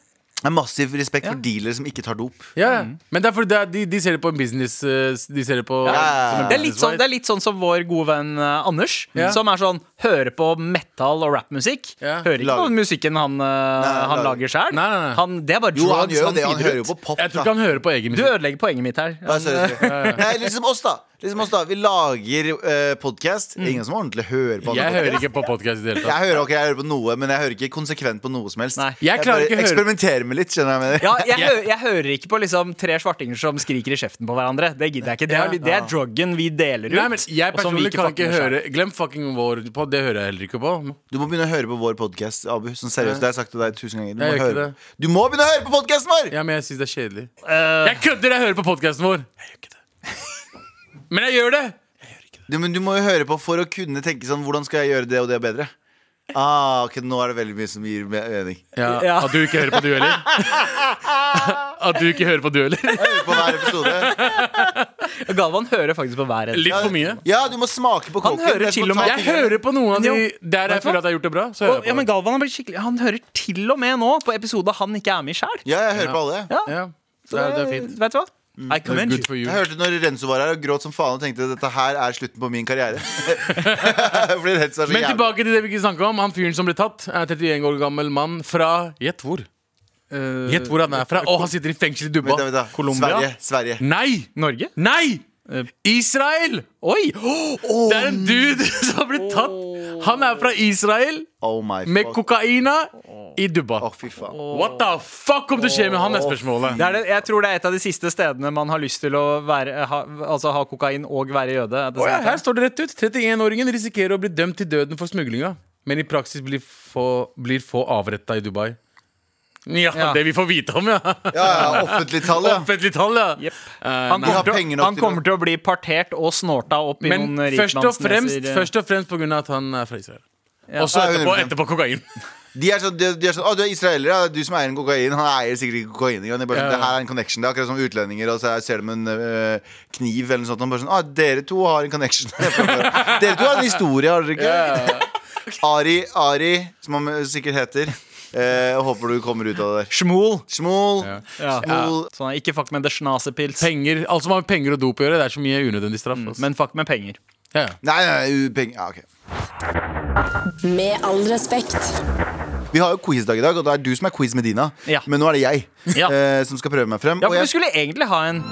Speaker 3: Det er Massiv respekt for dealere som ikke tar dop.
Speaker 4: Ja, ja. men det er fordi det er, de, de ser det på en business eh, De ser det på
Speaker 3: ja, ja.
Speaker 4: som en
Speaker 2: Det er, litt sånn,
Speaker 4: business-vei.
Speaker 2: det er litt sånn som vår gode venn eh, Anders,
Speaker 4: Ja.
Speaker 2: som er sånn hører på metal og rappmusikk.
Speaker 4: Ja.
Speaker 2: Hører ikke
Speaker 3: Lager-
Speaker 2: på musikken han, eh, han
Speaker 3: lager-
Speaker 2: lager sjøl.
Speaker 4: Nei, nei, nei.
Speaker 2: Det er bare
Speaker 3: Jo,
Speaker 2: drugs
Speaker 3: han gjør jo det. Han
Speaker 2: feeder
Speaker 3: hører jo
Speaker 2: ut.
Speaker 3: på pop.
Speaker 4: Jeg tror
Speaker 3: da.
Speaker 4: ikke han hører på egen
Speaker 2: Du
Speaker 4: musikk.
Speaker 2: ødelegger poenget mitt her.
Speaker 3: Nei, sorry, sorry. Nei, liksom oss, da. Liksom oss da Vi lager uh, podkast. Ingen som ordentlig hører på.
Speaker 4: Jeg
Speaker 3: andre
Speaker 4: hører ikke på podkast i det hele tatt.
Speaker 3: Jeg hører, ok, jeg hører på noe, men jeg hører ikke konsekvent på noe som helst.
Speaker 2: Nei.
Speaker 4: Jeg klarer
Speaker 3: bare
Speaker 4: ikke å høre-
Speaker 3: eksperimenterer med litt, skjønner jeg hva jeg mener.
Speaker 2: Ja, jeg, hø jeg hører ikke på liksom tre svartinger som skriker i kjeften på hverandre. Det gidder jeg ikke. Det
Speaker 4: Ja.
Speaker 2: er, litt- det er druggen vi deler ut.
Speaker 4: Nei, men jeg
Speaker 2: og som vi
Speaker 4: personlig kan ikke
Speaker 2: fucker med
Speaker 4: høre Glem fucking vår pod, det hører jeg heller ikke på.
Speaker 3: Du må begynne å høre på vår podkast, Abu. Sånn seriøst, det har jeg sagt til deg tusen ganger. Du
Speaker 4: Jeg
Speaker 3: må,
Speaker 4: gjør ikke
Speaker 3: høre. du må begynne å høre på podkasten vår!
Speaker 4: Ja, men jeg syns det er kjedelig.
Speaker 2: selv. Eh,
Speaker 4: Jeg kødder! Jeg hører på podkasten vår. Men jeg gjør det!
Speaker 3: Du, men du må jo høre på for å kunne tenke sånn Hvordan skal jeg gjøre det og det bedre? Ah, ok, Nå er det veldig mye som gir me- mening.
Speaker 4: Ja,
Speaker 2: Ja.
Speaker 4: At du ikke hører på du heller? At du ikke hører på du heller?
Speaker 3: Hør på hver episode.
Speaker 2: Galvan hører faktisk på hver eneste.
Speaker 4: Litt for mye.
Speaker 3: Ja, du må smake på
Speaker 2: Han
Speaker 3: koken.
Speaker 2: hører
Speaker 3: Det er
Speaker 2: til og med-
Speaker 3: spontant.
Speaker 4: Jeg hører på noen av de der
Speaker 2: Vet
Speaker 4: jeg
Speaker 2: du hva?
Speaker 4: føler at jeg har gjort det bra. Så
Speaker 2: Og,
Speaker 4: hører
Speaker 2: ja,
Speaker 4: jeg
Speaker 2: men
Speaker 4: på.
Speaker 2: Galvan har blitt skikkelig Han hører til og med nå på episoder han ikke er med i sjæl.
Speaker 3: Ja, jeg hører på alle.
Speaker 2: Ja.
Speaker 4: det. Ja, det er, det er fint. Mm.
Speaker 2: Vet du hva? I commend
Speaker 4: Good
Speaker 2: you.
Speaker 4: for you.
Speaker 3: Jeg hørte når Renzo var her og gråt som faen og tenkte dette her er slutten på min karriere. Fordi Renzo er så
Speaker 4: Men
Speaker 3: jævlig.
Speaker 4: tilbake til det vi ikke snakket om. Han fyren som ble tatt, er 31 år gammel mann fra Gjett hvor.
Speaker 2: Eh,
Speaker 4: Gjett hvor han er fra. Og han sitter i fengsel i
Speaker 3: Vent, da, vent,
Speaker 4: Dubba.
Speaker 3: da.
Speaker 2: Colombia?
Speaker 3: Sverige. Sverige.
Speaker 4: Nei!
Speaker 2: Norge?
Speaker 4: Nei! Israel!
Speaker 2: Oi!
Speaker 4: Det er en dude som har blitt tatt. Han er fra Israel
Speaker 3: Oh my
Speaker 4: med
Speaker 3: fuck.
Speaker 4: kokaina i Dubba.
Speaker 3: Å, fy faen.
Speaker 4: What the fuck om det skjer med han, er spørsmålet.
Speaker 2: Det er det, jeg tror det er et av de siste stedene man har lyst til å være, ha, altså, ha kokain og være jøde. Er det
Speaker 4: Å ja,
Speaker 2: sant?
Speaker 4: her står det rett ut. 31-åringen risikerer å bli dømt til døden for smuglinga. Men i praksis blir få, blir få avretta i Dubai. Ja,
Speaker 2: Ja.
Speaker 4: det vi får vite om, ja.
Speaker 3: Ja, ja, offentlig tall, ja.
Speaker 4: Offentlig tall, ja.
Speaker 2: Jepp.
Speaker 4: Eh,
Speaker 2: han
Speaker 3: har
Speaker 2: kommer,
Speaker 3: penger
Speaker 2: til,
Speaker 3: nok
Speaker 2: å- han
Speaker 3: til å-
Speaker 2: kommer til å bli partert og snorta opp i
Speaker 4: Men
Speaker 2: noen
Speaker 4: først og, fremst,
Speaker 2: rikmannsneser. eh.
Speaker 4: først og fremst på grunn av at han er fra Israel. Og så
Speaker 3: Ja,
Speaker 4: etterpå,
Speaker 3: 100%.
Speaker 4: etterpå kokain.
Speaker 3: De er sånn, de, de er sånn Å, du er israeler, ja. Du som eier en kokain. Han eier sikkert ikke kokain. ikke sant? Det er bare sånn,
Speaker 4: Ja.
Speaker 3: Det her er en connection. Det er akkurat som utlendinger, og så er- ser de en øh, kniv eller noe sånt. Og bare sånn Å, dere to har en connection. dere to har en historie, har dere ikke? Ari, Ari, som han sikkert heter. Eh, jeg håper du kommer ut av det der.
Speaker 2: Schmool.
Speaker 3: Smol.
Speaker 4: Ja.
Speaker 2: Ja.
Speaker 3: Smol.
Speaker 2: Sånn, ikke fuck med det snasepils,
Speaker 4: Penger, Alt som har med penger og dop å gjøre, det er så mye unødvendig straff. ass.
Speaker 2: Mm, men fuck med penger.
Speaker 4: ja, ja.
Speaker 3: Nei, nei, u- penger ja, ok.
Speaker 1: Med all respekt.
Speaker 3: Vi har jo quizdag i dag, og det er du som er quiz Medina.
Speaker 2: Ja.
Speaker 3: Men nå er det jeg
Speaker 2: Ja.
Speaker 3: eh, som skal prøve meg frem.
Speaker 2: Ja,
Speaker 3: og
Speaker 2: for
Speaker 3: jeg
Speaker 2: du skulle egentlig ha en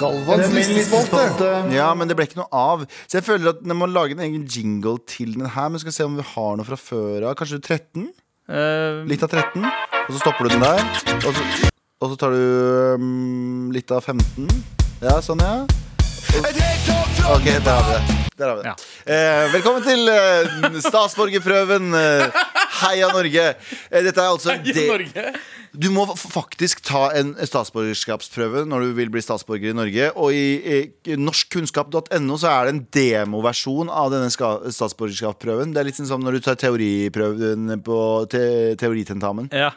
Speaker 5: Galvans listespalte.
Speaker 3: Ja, men det ble ikke noe av. Så jeg føler at jeg må lage en egen jingle til den her. Men skal se om vi har noe fra før av. Kanskje 13?
Speaker 2: eh,
Speaker 3: Litt av 13. Og så stopper du den der. Og så, og så tar du mm, litt av 15. Ja, sånn, ja. Og- Ok, der har vi det. Der har vi det. Eh, velkommen til eh, statsborgerprøven. eh, Heia Norge. Eh, Dette er altså
Speaker 4: I
Speaker 3: del-
Speaker 4: Norge.
Speaker 3: du må f- faktisk ta en statsborgerskapsprøve når du vil bli statsborger i Norge. Og i, i norskkunnskap.no så er det en demoversjon av denne ska- statsborgerskapsprøven. Det er litt sånn som når du tar teoriprøven på te teoritentamen.
Speaker 2: ja.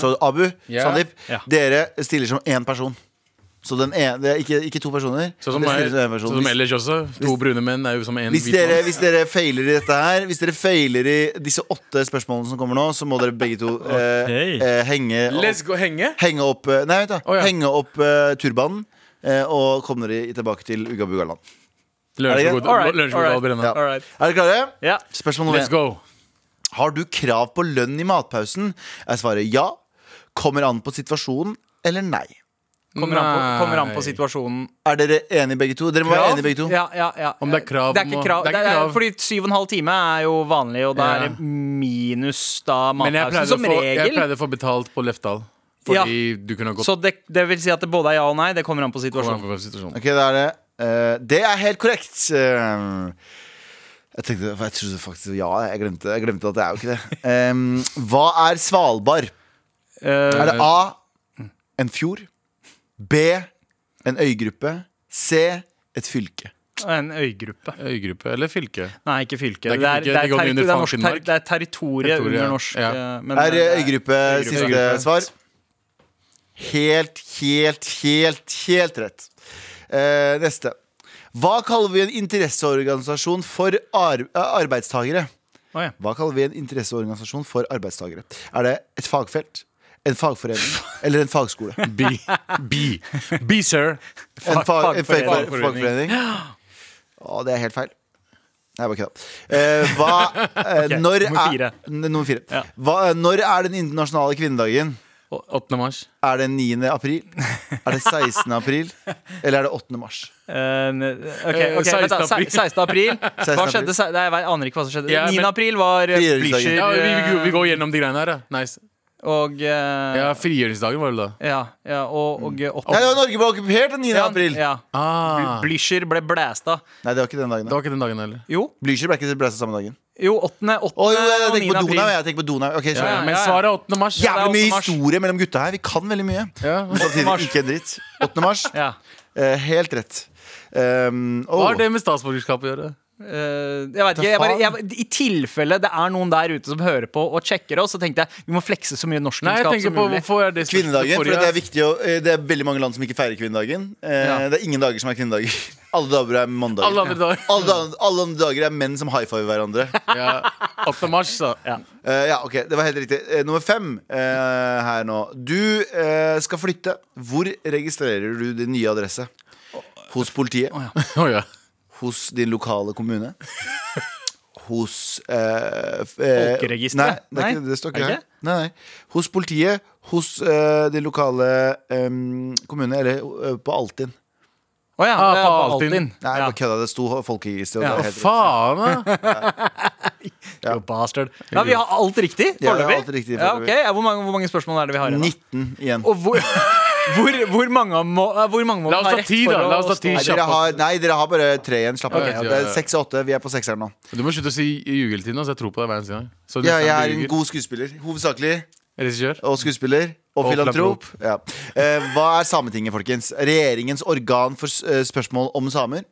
Speaker 3: Så Abu,
Speaker 4: Ja.
Speaker 3: Sandeep,
Speaker 2: Ja.
Speaker 3: dere stiller som én person. Så den ene, det er ikke, ikke to personer.
Speaker 4: Sånn som,
Speaker 3: dere
Speaker 4: meg,
Speaker 3: stiller som én person.
Speaker 4: sånn som ellers også. To brune menn er jo som en
Speaker 3: Hvis
Speaker 4: hvit
Speaker 3: dere,
Speaker 4: mann.
Speaker 3: hvis dere feiler i dette her Hvis dere feiler i disse åtte spørsmålene som kommer nå, så må dere begge to eh,
Speaker 2: Ok.
Speaker 3: eh, henge opp
Speaker 4: Let's go henge.
Speaker 3: Henge opp eh, Nei, vent da
Speaker 4: Å, ja.
Speaker 3: Henge opp eh, turbanen eh, Og kom dere i- tilbake til Ugabugaland det greit?
Speaker 2: Alright, alright.
Speaker 4: Lunsjmodal
Speaker 3: ja.
Speaker 4: brenner.
Speaker 2: Alright.
Speaker 3: Er dere klare?
Speaker 2: Ja.
Speaker 3: Spørsmål
Speaker 4: Let's
Speaker 3: nummer 1
Speaker 4: go.
Speaker 3: Har du krav på lønn i matpausen? Jeg svarer ja Kommer an på situasjonen eller nei
Speaker 2: Kommer, an på,
Speaker 4: Nei.
Speaker 2: kommer an på situasjonen.
Speaker 3: Er dere enige begge to? Dere må være enige begge to
Speaker 2: Ja, ja, ja.
Speaker 4: Om det er krav
Speaker 2: Det er
Speaker 4: om
Speaker 2: ikke
Speaker 4: å-
Speaker 2: krav.
Speaker 4: det er ikke
Speaker 2: Det er-
Speaker 4: krav.
Speaker 2: Fordi syv og en halv time er jo vanlig, og da
Speaker 4: Ja.
Speaker 2: er det minus da
Speaker 4: Men jeg
Speaker 2: matpausen
Speaker 4: pleide, å
Speaker 2: som
Speaker 4: få, jeg
Speaker 2: regel.
Speaker 4: pleide å få betalt på Lefdal.
Speaker 2: Ja. Sånn
Speaker 4: Fordi du kunne ha gått
Speaker 2: Så det, det vil si at det både er ja og nei. Det kommer an på situasjonen.
Speaker 4: på situasjonen.
Speaker 3: Ok, da er det eh, Det er helt korrekt Eh, jeg tenkte, for jeg trodde faktisk Ja, jeg glemte, jeg glemte at det er jo ikke det Em, Hva er Svalbard?
Speaker 2: Eh,
Speaker 3: Er det A en fjord? B en øygruppe? C et fylke?
Speaker 2: en øygruppe.
Speaker 4: Øygruppe eller fylke?
Speaker 2: Nei, ikke fylke. Det
Speaker 4: Det er ikke
Speaker 2: er, det er,
Speaker 4: fylke, det går
Speaker 2: terri-
Speaker 4: under
Speaker 2: det er, norsk
Speaker 4: Frank
Speaker 2: ter,
Speaker 4: Finnmark.
Speaker 2: det er territoriet
Speaker 4: Territoriet,
Speaker 2: under norsk.
Speaker 4: ja.
Speaker 2: eh, men
Speaker 3: Er
Speaker 2: det er-
Speaker 3: øygruppe siste
Speaker 4: Øygruppe.
Speaker 3: svar? Helt, helt, helt, helt rett. Eh, neste. Hva kaller vi en interesseorganisasjon for ar eh, arbeidstagere?
Speaker 2: Å, ja.
Speaker 3: Hva kaller vi en interesseorganisasjon for arbeidstagere? Er det et fagfelt, en fagforening eller en fagskole?
Speaker 4: B. B. B, sir.
Speaker 3: En fag, en fag,
Speaker 2: fagforening.
Speaker 3: fagforening. Å, det er helt feil. Nei, bare kødda. Eh, hva, eh, når
Speaker 2: nummer fire.
Speaker 3: er, n- nummer fire. Hva, eh, når er den internasjonale kvinnedagen?
Speaker 4: 8. mars.
Speaker 3: Er det 9. april? Er det 16. april? Eller er det 8. mars?
Speaker 2: Eh, ok,
Speaker 4: Eh,
Speaker 2: ok, vent da,
Speaker 4: 16. april.
Speaker 2: se- 16. april. Hva
Speaker 3: 16.
Speaker 2: skjedde? se- Nei, Jeg vet- aner ikke hva som skjedde.
Speaker 4: Ja, men-
Speaker 2: 9. april var eh, Blücher
Speaker 3: Frigjøringsdagen.
Speaker 4: Ja, vi, vi, vi
Speaker 2: eh,
Speaker 4: går gjennom de greiene her, ja. Nice.
Speaker 2: og eh,
Speaker 4: Ja, frigjøringsdagen var det da.
Speaker 2: Ja, ja og, og eh, åttende-
Speaker 3: Nei, det var Norge ble okkupert den 9.
Speaker 2: Ja,
Speaker 3: april!
Speaker 2: Ja.
Speaker 4: Ah,
Speaker 2: Blücher ble blæsta.
Speaker 3: Nei, det var ikke den dagen.
Speaker 4: det
Speaker 3: da.
Speaker 4: var ikke den dagen heller.
Speaker 2: Jo,
Speaker 3: Blücher ble ikke blæsta samme dagen.
Speaker 2: jo, åttende, åttende
Speaker 3: Å jo,
Speaker 2: og
Speaker 3: jeg tenker på
Speaker 2: niende
Speaker 3: Donau.
Speaker 2: april.
Speaker 3: Jeg tenker på Donau. Ok,
Speaker 4: Ja,
Speaker 3: skjønner.
Speaker 4: men
Speaker 2: ja, ja.
Speaker 4: svaret er 8. mars.
Speaker 2: ja,
Speaker 3: Jævlig mye
Speaker 2: 8. mars.
Speaker 3: historie mellom gutta her. Vi kan veldig mye.
Speaker 4: Ja.
Speaker 3: Men Samtidig ikke en dritt. 8. mars.
Speaker 2: Ja.
Speaker 3: Eh, helt rett. Um,
Speaker 4: Hva
Speaker 3: oh.
Speaker 4: har det med statsborgerskap å gjøre?
Speaker 2: Eh, jeg vet ikke, jeg bare, jeg, I tilfelle det er noen der ute som hører på og sjekker oss, så tenkte jeg vi må flekse så mye
Speaker 4: Nei, jeg
Speaker 2: norskkunnskap
Speaker 4: tenker
Speaker 2: som
Speaker 4: på
Speaker 2: mulig.
Speaker 4: hvorfor er det største
Speaker 3: Kvinnedagen, for
Speaker 4: forrige-
Speaker 3: det er viktig å, eh, Det er veldig mange land som ikke feirer kvinnedagen. Eh,
Speaker 2: Ja.
Speaker 3: Det er ingen dager som er kvinnedager. Alle dager er mandager.
Speaker 4: Alle andre dager.
Speaker 3: Alle, da- alle andre dager er menn som high five hverandre.
Speaker 4: Ja, 8. mars, da.
Speaker 3: Eh, ja, ok, Det var helt riktig. Eh, nummer fem eh, her nå. Du eh, skal flytte. Hvor registrerer du din nye adresse? Hos politiet?
Speaker 4: Å, ja.
Speaker 3: Hos din lokale kommune? Hos eh, f- eh,
Speaker 2: Folkeregisteret?
Speaker 3: Nei, det, er
Speaker 2: Nei,
Speaker 3: ikke, det står
Speaker 2: er
Speaker 3: ikke
Speaker 2: det
Speaker 3: her. Nei, nei. Hos politiet, hos eh, din lokale em, kommune, eller eh, på Altinn.
Speaker 2: Å ja,
Speaker 4: Ah,
Speaker 2: det er
Speaker 4: på
Speaker 2: på
Speaker 4: Altinn.
Speaker 2: Altinn.
Speaker 3: Nei,
Speaker 2: Ja.
Speaker 3: bare kødda. Det sto folkeregisteret.
Speaker 2: Ja.
Speaker 3: og det er
Speaker 4: Å,
Speaker 3: helt riktig.
Speaker 4: faen, da.
Speaker 2: Ja. ja, Vi har alt riktig
Speaker 3: Ja, vi har
Speaker 2: foreløpig?
Speaker 3: alt
Speaker 2: Ja,
Speaker 3: riktig foreløpig.
Speaker 2: ok. ja, hvor, mange- hvor mange spørsmål er det vi har igjen? da?
Speaker 3: 19 igjen.
Speaker 2: Og hvor, hvor, hvor mange må, eh, hvor mange må man
Speaker 4: La oss
Speaker 2: ha
Speaker 4: ta
Speaker 2: rett
Speaker 4: ti,
Speaker 2: for
Speaker 4: da.
Speaker 2: å
Speaker 4: La oss ta
Speaker 2: stå-
Speaker 4: ti
Speaker 3: Nei
Speaker 4: kjapt.
Speaker 3: dere, har, nei, dere har bare tre igjen. Slapp av.
Speaker 4: Ok,
Speaker 3: Det er
Speaker 4: ja.
Speaker 3: seks og åtte. Vi er på sekseren nå.
Speaker 4: Du må slutte å si jugeltid nå, så jeg tror på deg hver eneste gang. Så
Speaker 3: Ja,
Speaker 4: neste
Speaker 3: jeg
Speaker 4: gang
Speaker 3: er
Speaker 4: du
Speaker 3: en
Speaker 4: ljuger-
Speaker 3: god skuespiller. Hovedsakelig.
Speaker 4: Regissør.
Speaker 3: Og skuespiller. Og,
Speaker 4: Og
Speaker 3: filantrop. Ja. Eh, hva er Sametinget, folkens? Regjeringens organ for s- eh, spørsmål om samer?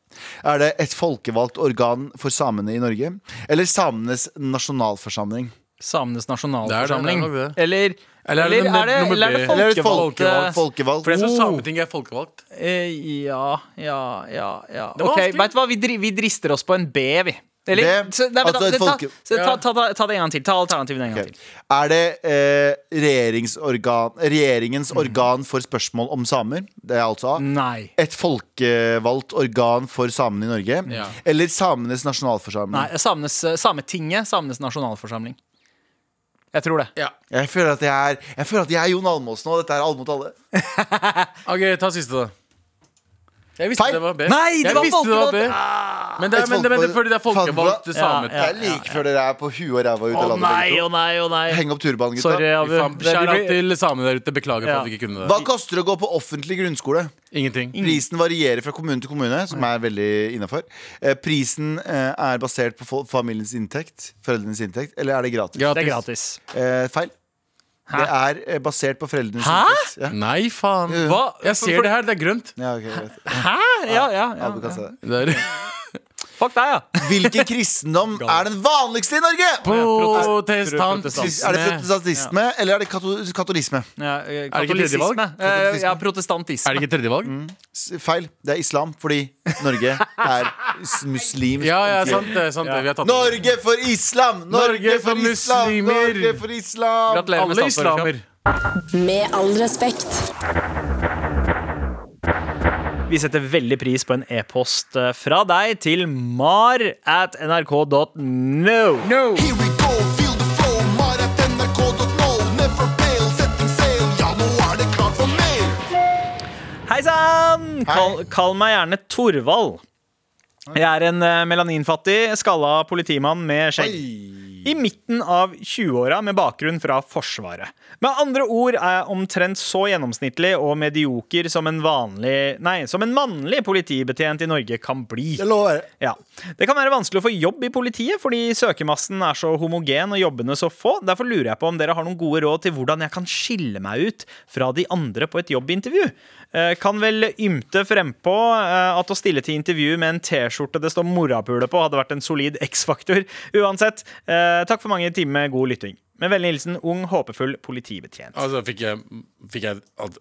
Speaker 3: Er det et folkevalgt organ for samene i Norge? Eller samenes nasjonalforsamling?
Speaker 2: Samenes
Speaker 4: Det
Speaker 2: nasjonalforsamling?
Speaker 4: er det, det er nok det.
Speaker 2: Eller,
Speaker 4: Eller er det
Speaker 2: eller,
Speaker 4: nummer-
Speaker 2: er det,
Speaker 4: nummer
Speaker 2: eller er det eh,
Speaker 4: B?
Speaker 3: Eller er det et
Speaker 2: folkevalgte
Speaker 3: folkevalgt? folkevalgt?
Speaker 4: For jeg tror
Speaker 3: Oh.
Speaker 4: Sametinget er folkevalgt.
Speaker 2: Eh, Ja, ja, ja, ja.
Speaker 4: var
Speaker 2: Ok,
Speaker 4: vanskelig.
Speaker 2: Vet du hva, vi, dri, vi drister oss på en B, vi. Eller,
Speaker 3: Det-
Speaker 2: så, nei, men
Speaker 3: altså, et
Speaker 2: da,
Speaker 3: folke-
Speaker 2: ta, så, ta, ta, ta, ta det en gang til. Ta alternativene en gang
Speaker 3: Ok. Er det eh, regjeringsorgan, regjeringens organ for spørsmål om samer? Det er altså A.
Speaker 2: til. Nei.
Speaker 3: Et folkevalgt organ for samene i Norge?
Speaker 4: Ja.
Speaker 3: Eller samenes nasjonalforsamling?
Speaker 2: Nei, eh, samenes, Sametinget, samenes nasjonalforsamling. Jeg tror det.
Speaker 4: Ja.
Speaker 3: Jeg føler at jeg er, jeg føler at jeg er Jon Almåsen, og dette er alle mot alle.
Speaker 4: OK, ta siste, da. Jeg visste
Speaker 3: Feil.
Speaker 4: det var B.
Speaker 2: Nei, det
Speaker 4: jeg
Speaker 2: var
Speaker 4: visste det var B.
Speaker 2: folkevalgt.
Speaker 4: Men det er,
Speaker 3: Et
Speaker 4: men, det, men det, er fordi det er
Speaker 3: folkevalgt-
Speaker 4: folkevalgt samer.
Speaker 2: Ja,
Speaker 3: Det er like før dere er på huet og ræva ut av landet. begge to.
Speaker 2: nei, å nei.
Speaker 3: Heng opp turbanen, gutta.
Speaker 2: Sorry, Abu.
Speaker 4: Faen,
Speaker 2: Det-
Speaker 4: Shout
Speaker 2: vi
Speaker 4: out
Speaker 2: blir-
Speaker 4: til samene der ute. Beklager
Speaker 2: Ja.
Speaker 4: for at vi ikke kunne
Speaker 3: Hva
Speaker 4: det.
Speaker 3: koster det å gå på offentlig grunnskole?
Speaker 4: Ingenting.
Speaker 3: Prisen varierer fra kommune til kommune, som er veldig innafor. Prisen eh, er basert på fol- familiens inntekt, foreldrenes inntekt, eller er det gratis?
Speaker 2: Det er gratis.
Speaker 3: Eh, feil. Det er eh, basert på foreldrenes
Speaker 2: Hæ?
Speaker 3: inntekt. Ja.
Speaker 4: Nei, faen.
Speaker 2: Hva?
Speaker 4: Jeg
Speaker 2: For-
Speaker 4: ser det her. Det er grønt.
Speaker 3: Ja, ok, greit.
Speaker 2: Hæ? Ja, ja. ja,
Speaker 3: Abu kan se det.
Speaker 4: Det er
Speaker 2: Fuck deg, ja.
Speaker 3: Hvilken kristendom er den vanligste i Norge?
Speaker 4: protestantisme.
Speaker 3: Er det protestantisme eller er det kato- katolisme?
Speaker 2: ja eh,
Speaker 4: Er det ikke tredje valg?
Speaker 2: katolisisme. Eh, Ja, protestantisme.
Speaker 4: Er det ikke tredjevalg?
Speaker 3: S- Feil. Det er islam, fordi Norge er s- muslimsk.
Speaker 4: Ja, ja, sant det. Sant det. Vi har tatt det.
Speaker 3: Norge for islam! Norge,
Speaker 4: Norge
Speaker 3: for,
Speaker 4: for
Speaker 3: islam!
Speaker 4: muslimer!
Speaker 3: Norge for islam!
Speaker 2: Gratulerer med
Speaker 4: Alle
Speaker 2: statsborgerskap.
Speaker 4: islamer.
Speaker 1: Med all respekt.
Speaker 2: Vi setter veldig pris på en e-post eh, fra deg til mar at nrk.no.
Speaker 5: Here we go, feel the flow. Mar at nrk.no. Never fail, setting sail. Ja, nå er det klart for mer.
Speaker 2: Hei sann! Kall, kall meg gjerne Torvald. Jeg er en eh, melaninfattig, skalla politimann med skjegg. I midten av 20-åra med bakgrunn fra Forsvaret. Med andre ord er jeg omtrent så gjennomsnittlig og medioker som en vanlig Nei, som en mannlig politibetjent i Norge kan bli.
Speaker 3: Det lover.
Speaker 2: Ja. Det kan være vanskelig å få jobb i politiet fordi søkermassen er så homogen og jobbene så få. Derfor lurer jeg på om dere har noen gode råd til hvordan jeg kan skille meg ut fra de andre på et jobbintervju. Eh, kan vel ymte frempå eh, at å stille til intervju med en T-skjorte det står morapule på, hadde vært en solid X-faktor. Uansett, eh, takk for mange timer med god lytting. Med vennlig hilsen ung, håpefull politibetjent.
Speaker 4: Altså, fikk jeg, fikk jeg at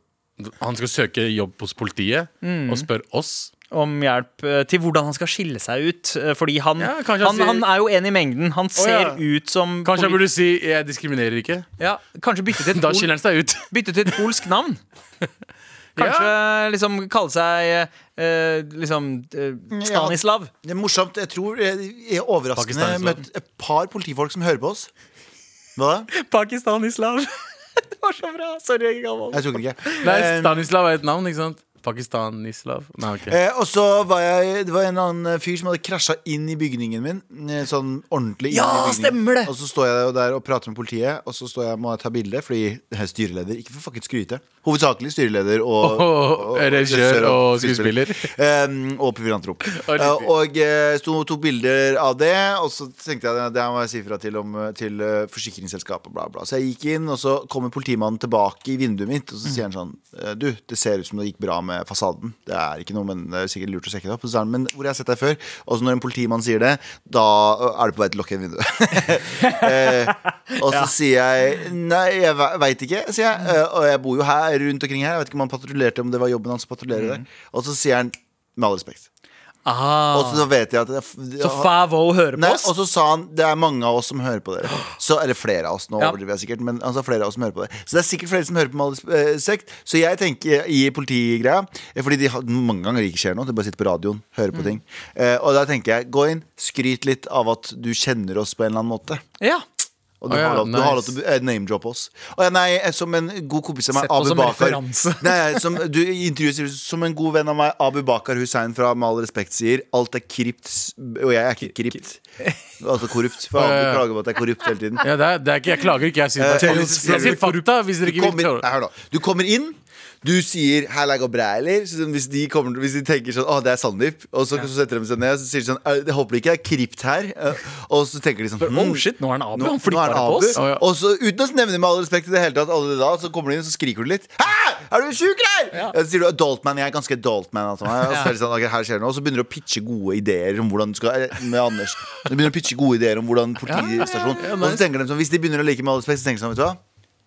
Speaker 4: han skal søke jobb hos politiet og spør oss?
Speaker 2: Om hjelp eh, til hvordan han skal skille seg ut. eh, Fordi han,
Speaker 4: Ja, kanskje
Speaker 2: han,
Speaker 4: han sier-
Speaker 2: han er jo en i mengden. Han ser
Speaker 4: ja.
Speaker 2: ut som poli-
Speaker 4: Kanskje jeg burde si 'jeg diskriminerer ikke'?
Speaker 2: Ja, kanskje bytte til et,
Speaker 4: Da
Speaker 2: pol
Speaker 4: skiller han seg ut.
Speaker 2: bytte til et polsk navn. Kanskje liksom kalle seg eh, liksom eh, Stanislav.
Speaker 3: Det er morsomt. Jeg tror eh, jeg er overraskende
Speaker 4: Pakistan-islam.
Speaker 3: møtt et par politifolk som hører på oss. Hva da?
Speaker 2: Pakistan-islam. det var så bra. Sorry, Gammel.
Speaker 3: Jeg tok den ikke. Eh,
Speaker 4: Nei, Stanislav er et navn, ikke sant? Pakistan-Islav. Nei, ok.
Speaker 3: Eh, og så var jeg Det var en annen fyr som hadde krasja inn i bygningen min. eh, Sånn ordentlig inn
Speaker 2: Ja,
Speaker 3: i bygningen.
Speaker 2: stemmer det!
Speaker 3: Og så står jeg jo der og prater med politiet, og så står jeg må jeg ta bilde fordi jeg er styreleder. Ikke for fuckings skryte. Hovedsakelig styreleder og,
Speaker 4: Og regissør og skuespiller.
Speaker 3: Eh, og proviantrop.
Speaker 4: Og riktig.
Speaker 3: Eh, og eh, sto, tok bilder av det, og så tenkte jeg det her må jeg si fra til, om, eh, til eh, forsikringsselskapet. Bla, bla. Så jeg gikk inn, og så kommer politimannen tilbake i vinduet mitt, og så sier han sånn eh, Du, det ser ut som det gikk bra med fasaden. Det er ikke noe, men det er sikkert lurt å sjekke det opp. Og så sa han, men hvor jeg har sett deg før. Og så når en politimann sier det, da eh, er du på vei til å lukke igjen vinduet. Eh, og så sier jeg Nei, jeg ve- veit ikke, sier jeg. Eh, Og jeg bor jo her rundt omkring her. Jeg vet ikke om han patruljerte, om det var jobben hans å patruljere der. Og så sier han med all respekt.
Speaker 2: Ah,
Speaker 3: Og så da vet jeg at
Speaker 2: så Favo hører
Speaker 3: Nei, altså-
Speaker 2: på oss.
Speaker 3: og så sa han det er mange av oss som hører på dere. Så, eller flere av oss, nå
Speaker 2: Ja.
Speaker 3: overdriver jeg sikkert. Men altså, flere av oss som hører på dere Så det er sikkert flere som hører på med all respekt. Så jeg tenker i politigreia eh, Fordi de har, mange ganger det ikke skjer noe. De bare sitter på radioen, hører
Speaker 2: Mm.
Speaker 3: på ting. Eh, og da tenker jeg gå inn, skryt litt av at du kjenner oss på en eller annen måte.
Speaker 2: Ja.
Speaker 3: Og du,
Speaker 4: Å ja,
Speaker 3: har lov, du har lov
Speaker 4: nice.
Speaker 3: til å eh, name-droppe oss. Å ja, nei, eh, som en god kompis av meg,
Speaker 2: Sett på
Speaker 3: Abu
Speaker 2: som
Speaker 3: Bakar.
Speaker 2: referanse.
Speaker 3: Nei, som, du i intervjuet sier du, som en god venn av meg, Abu Bakar Hussein fra Med all respekt sier, alt er kript, og jeg er ikke kript. Altså korrupt. For Abu
Speaker 4: ja, ja.
Speaker 3: klager på at det er korrupt hele tiden.
Speaker 4: Ja, det er, det er ikke, jeg klager ikke, jeg sier bare
Speaker 3: Eh,
Speaker 4: fakta. Jeg sier fakta hvis dere
Speaker 3: Du
Speaker 4: ikke vil
Speaker 3: kommer, nei,
Speaker 4: klare
Speaker 3: hør nå. du kommer inn, du sier 'herr og bræler'. Så sånn, hvis, de kommer, til- hvis de tenker sånn 'Å, det er Sandeep', og så, så setter de seg ned og så sier de sånn «Eh, 'Jeg håper ikke det er kript her'. Eh, Og så tenker de sånn
Speaker 2: Oh
Speaker 3: «Hm,
Speaker 2: shit, nå er han Abu. Han
Speaker 3: nå, nå er
Speaker 2: flipper
Speaker 3: det
Speaker 2: på
Speaker 3: Abu.
Speaker 2: oss.
Speaker 4: Å, ja.
Speaker 3: Og så uten å nevne med all respekt i det hele tatt alle da, Så kommer de inn og så skriker du litt. Hæ! Er du sjuk, eller? Så sier du adult man. Jeg er ganske adult man. Altså. Og så, er det sånn, ok, her skjer det noe. og så begynner du å pitche gode ideer om hvordan du skal eh, Med Anders. Du begynner å pitche gode ideer om hvordan politistasjon Og så tenker de sånn, Hvis de begynner å like med all respekt, så tenker de sånn, vet du hva?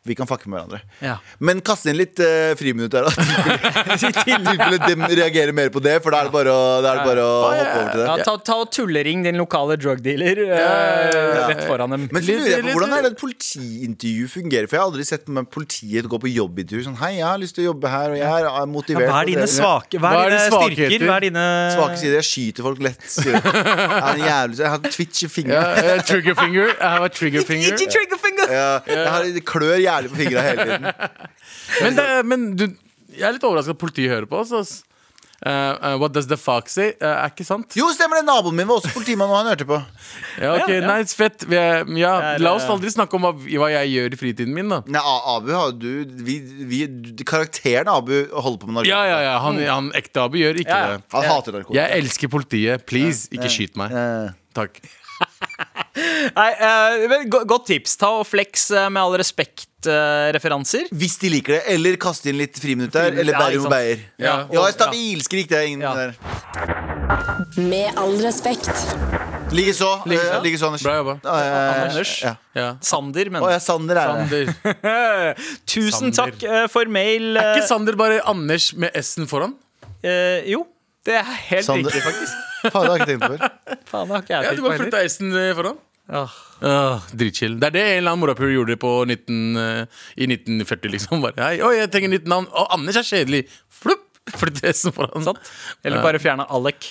Speaker 3: Vi kan fucke med hverandre.
Speaker 2: Ja.
Speaker 3: Men kaste inn litt uh, friminutt der, da. I tilfelle de reagerer mer på det, for da er det bare å, da er det bare å hoppe over til det.
Speaker 2: Ja, ta, ta og tullering din lokale drug dealer eh, rett foran dem.
Speaker 3: Men så lurer jeg på hvordan er det et politiintervju fungerer? For jeg har aldri sett med politiet gå på jobbintervju sånn Hei, jeg har lyst til å jobbe her, og jeg er er motivert.
Speaker 6: Hva er
Speaker 3: og
Speaker 6: dine
Speaker 3: drevet med».
Speaker 6: svake Hva er dine styrker? Hva er dine
Speaker 3: Svake sider. Jeg skyter folk lett. Sier de. jeg er en jævlig Jeg har twitch i
Speaker 4: Ja,
Speaker 3: fingra.
Speaker 4: eh, trigger finger. Jeg har trigger finger.
Speaker 3: Ja, Jeg har det klør jævlig på fingra hele tiden.
Speaker 4: Men, det, men du, jeg er litt overraska at politiet hører på oss. ass. Eh, eh, what does the fox say? Eh, er ikke sant?
Speaker 3: Jo, stemmer det! Naboen min var også politimann, og han hørte på.
Speaker 4: Ja, ok, Nei, fett. Vi er, ja,
Speaker 2: er,
Speaker 4: la oss
Speaker 2: eh,
Speaker 4: aldri snakke om hva, vi- hva jeg gjør i fritiden min, da.
Speaker 3: Nei, A- Abu har du, vi, vi du- Karakteren Abu holder på med narkotika.
Speaker 4: Ja, ja, ja, Han, han ekte Abu gjør ikke
Speaker 2: Ja, ja.
Speaker 4: det.
Speaker 3: Han hater narkotika.
Speaker 4: Jeg elsker politiet. Please, ikke skyt meg.
Speaker 3: Eh,
Speaker 4: Takk.
Speaker 2: Nei, eh, men go- Godt tips. Ta og flex eh, med all eh, respekt-referanser.
Speaker 3: Hvis de liker det, eller kaste inn litt friminutt der.
Speaker 2: Friminutt,
Speaker 3: Eller
Speaker 2: ja, ikke
Speaker 3: Bærum og
Speaker 2: sant.
Speaker 3: Beyer.
Speaker 4: Ja,
Speaker 3: Ja, stabilskrik, det er ingen
Speaker 2: Ja.
Speaker 3: der.
Speaker 7: Med all respekt.
Speaker 3: Likeså.
Speaker 4: Likeså.
Speaker 3: eh, Likeså, Anders.
Speaker 4: Bra jobba.
Speaker 3: Eh,
Speaker 2: Anders.
Speaker 3: Ja.
Speaker 4: Ja.
Speaker 2: Sander, men.
Speaker 3: Å ja, Sander er det.
Speaker 4: Sander.
Speaker 2: Tusen
Speaker 4: Sander.
Speaker 2: takk eh, for mail.
Speaker 4: Er
Speaker 2: eh,
Speaker 4: ikke Sander bare Anders med S-en foran?
Speaker 2: eh, jo, det er helt
Speaker 3: Sander.
Speaker 2: riktig, faktisk.
Speaker 3: Faen, det har jeg ikke tenkt på før.
Speaker 2: Faen, det har ikke jeg
Speaker 4: Ja,
Speaker 2: tenkt
Speaker 4: du
Speaker 2: på
Speaker 4: bare
Speaker 2: heller.
Speaker 4: flytta S-en foran.
Speaker 2: Åh.
Speaker 4: Åh, Dritchill. Det er det en eller annen morapuler gjorde på 19, eh, i 1940, liksom. Bare, Hei, oi, jeg trenger nytt navn. Å, Anders er kjedelig. Flupp! Flytte S-en foran.
Speaker 2: Sant? Eller bare fjerne Alec.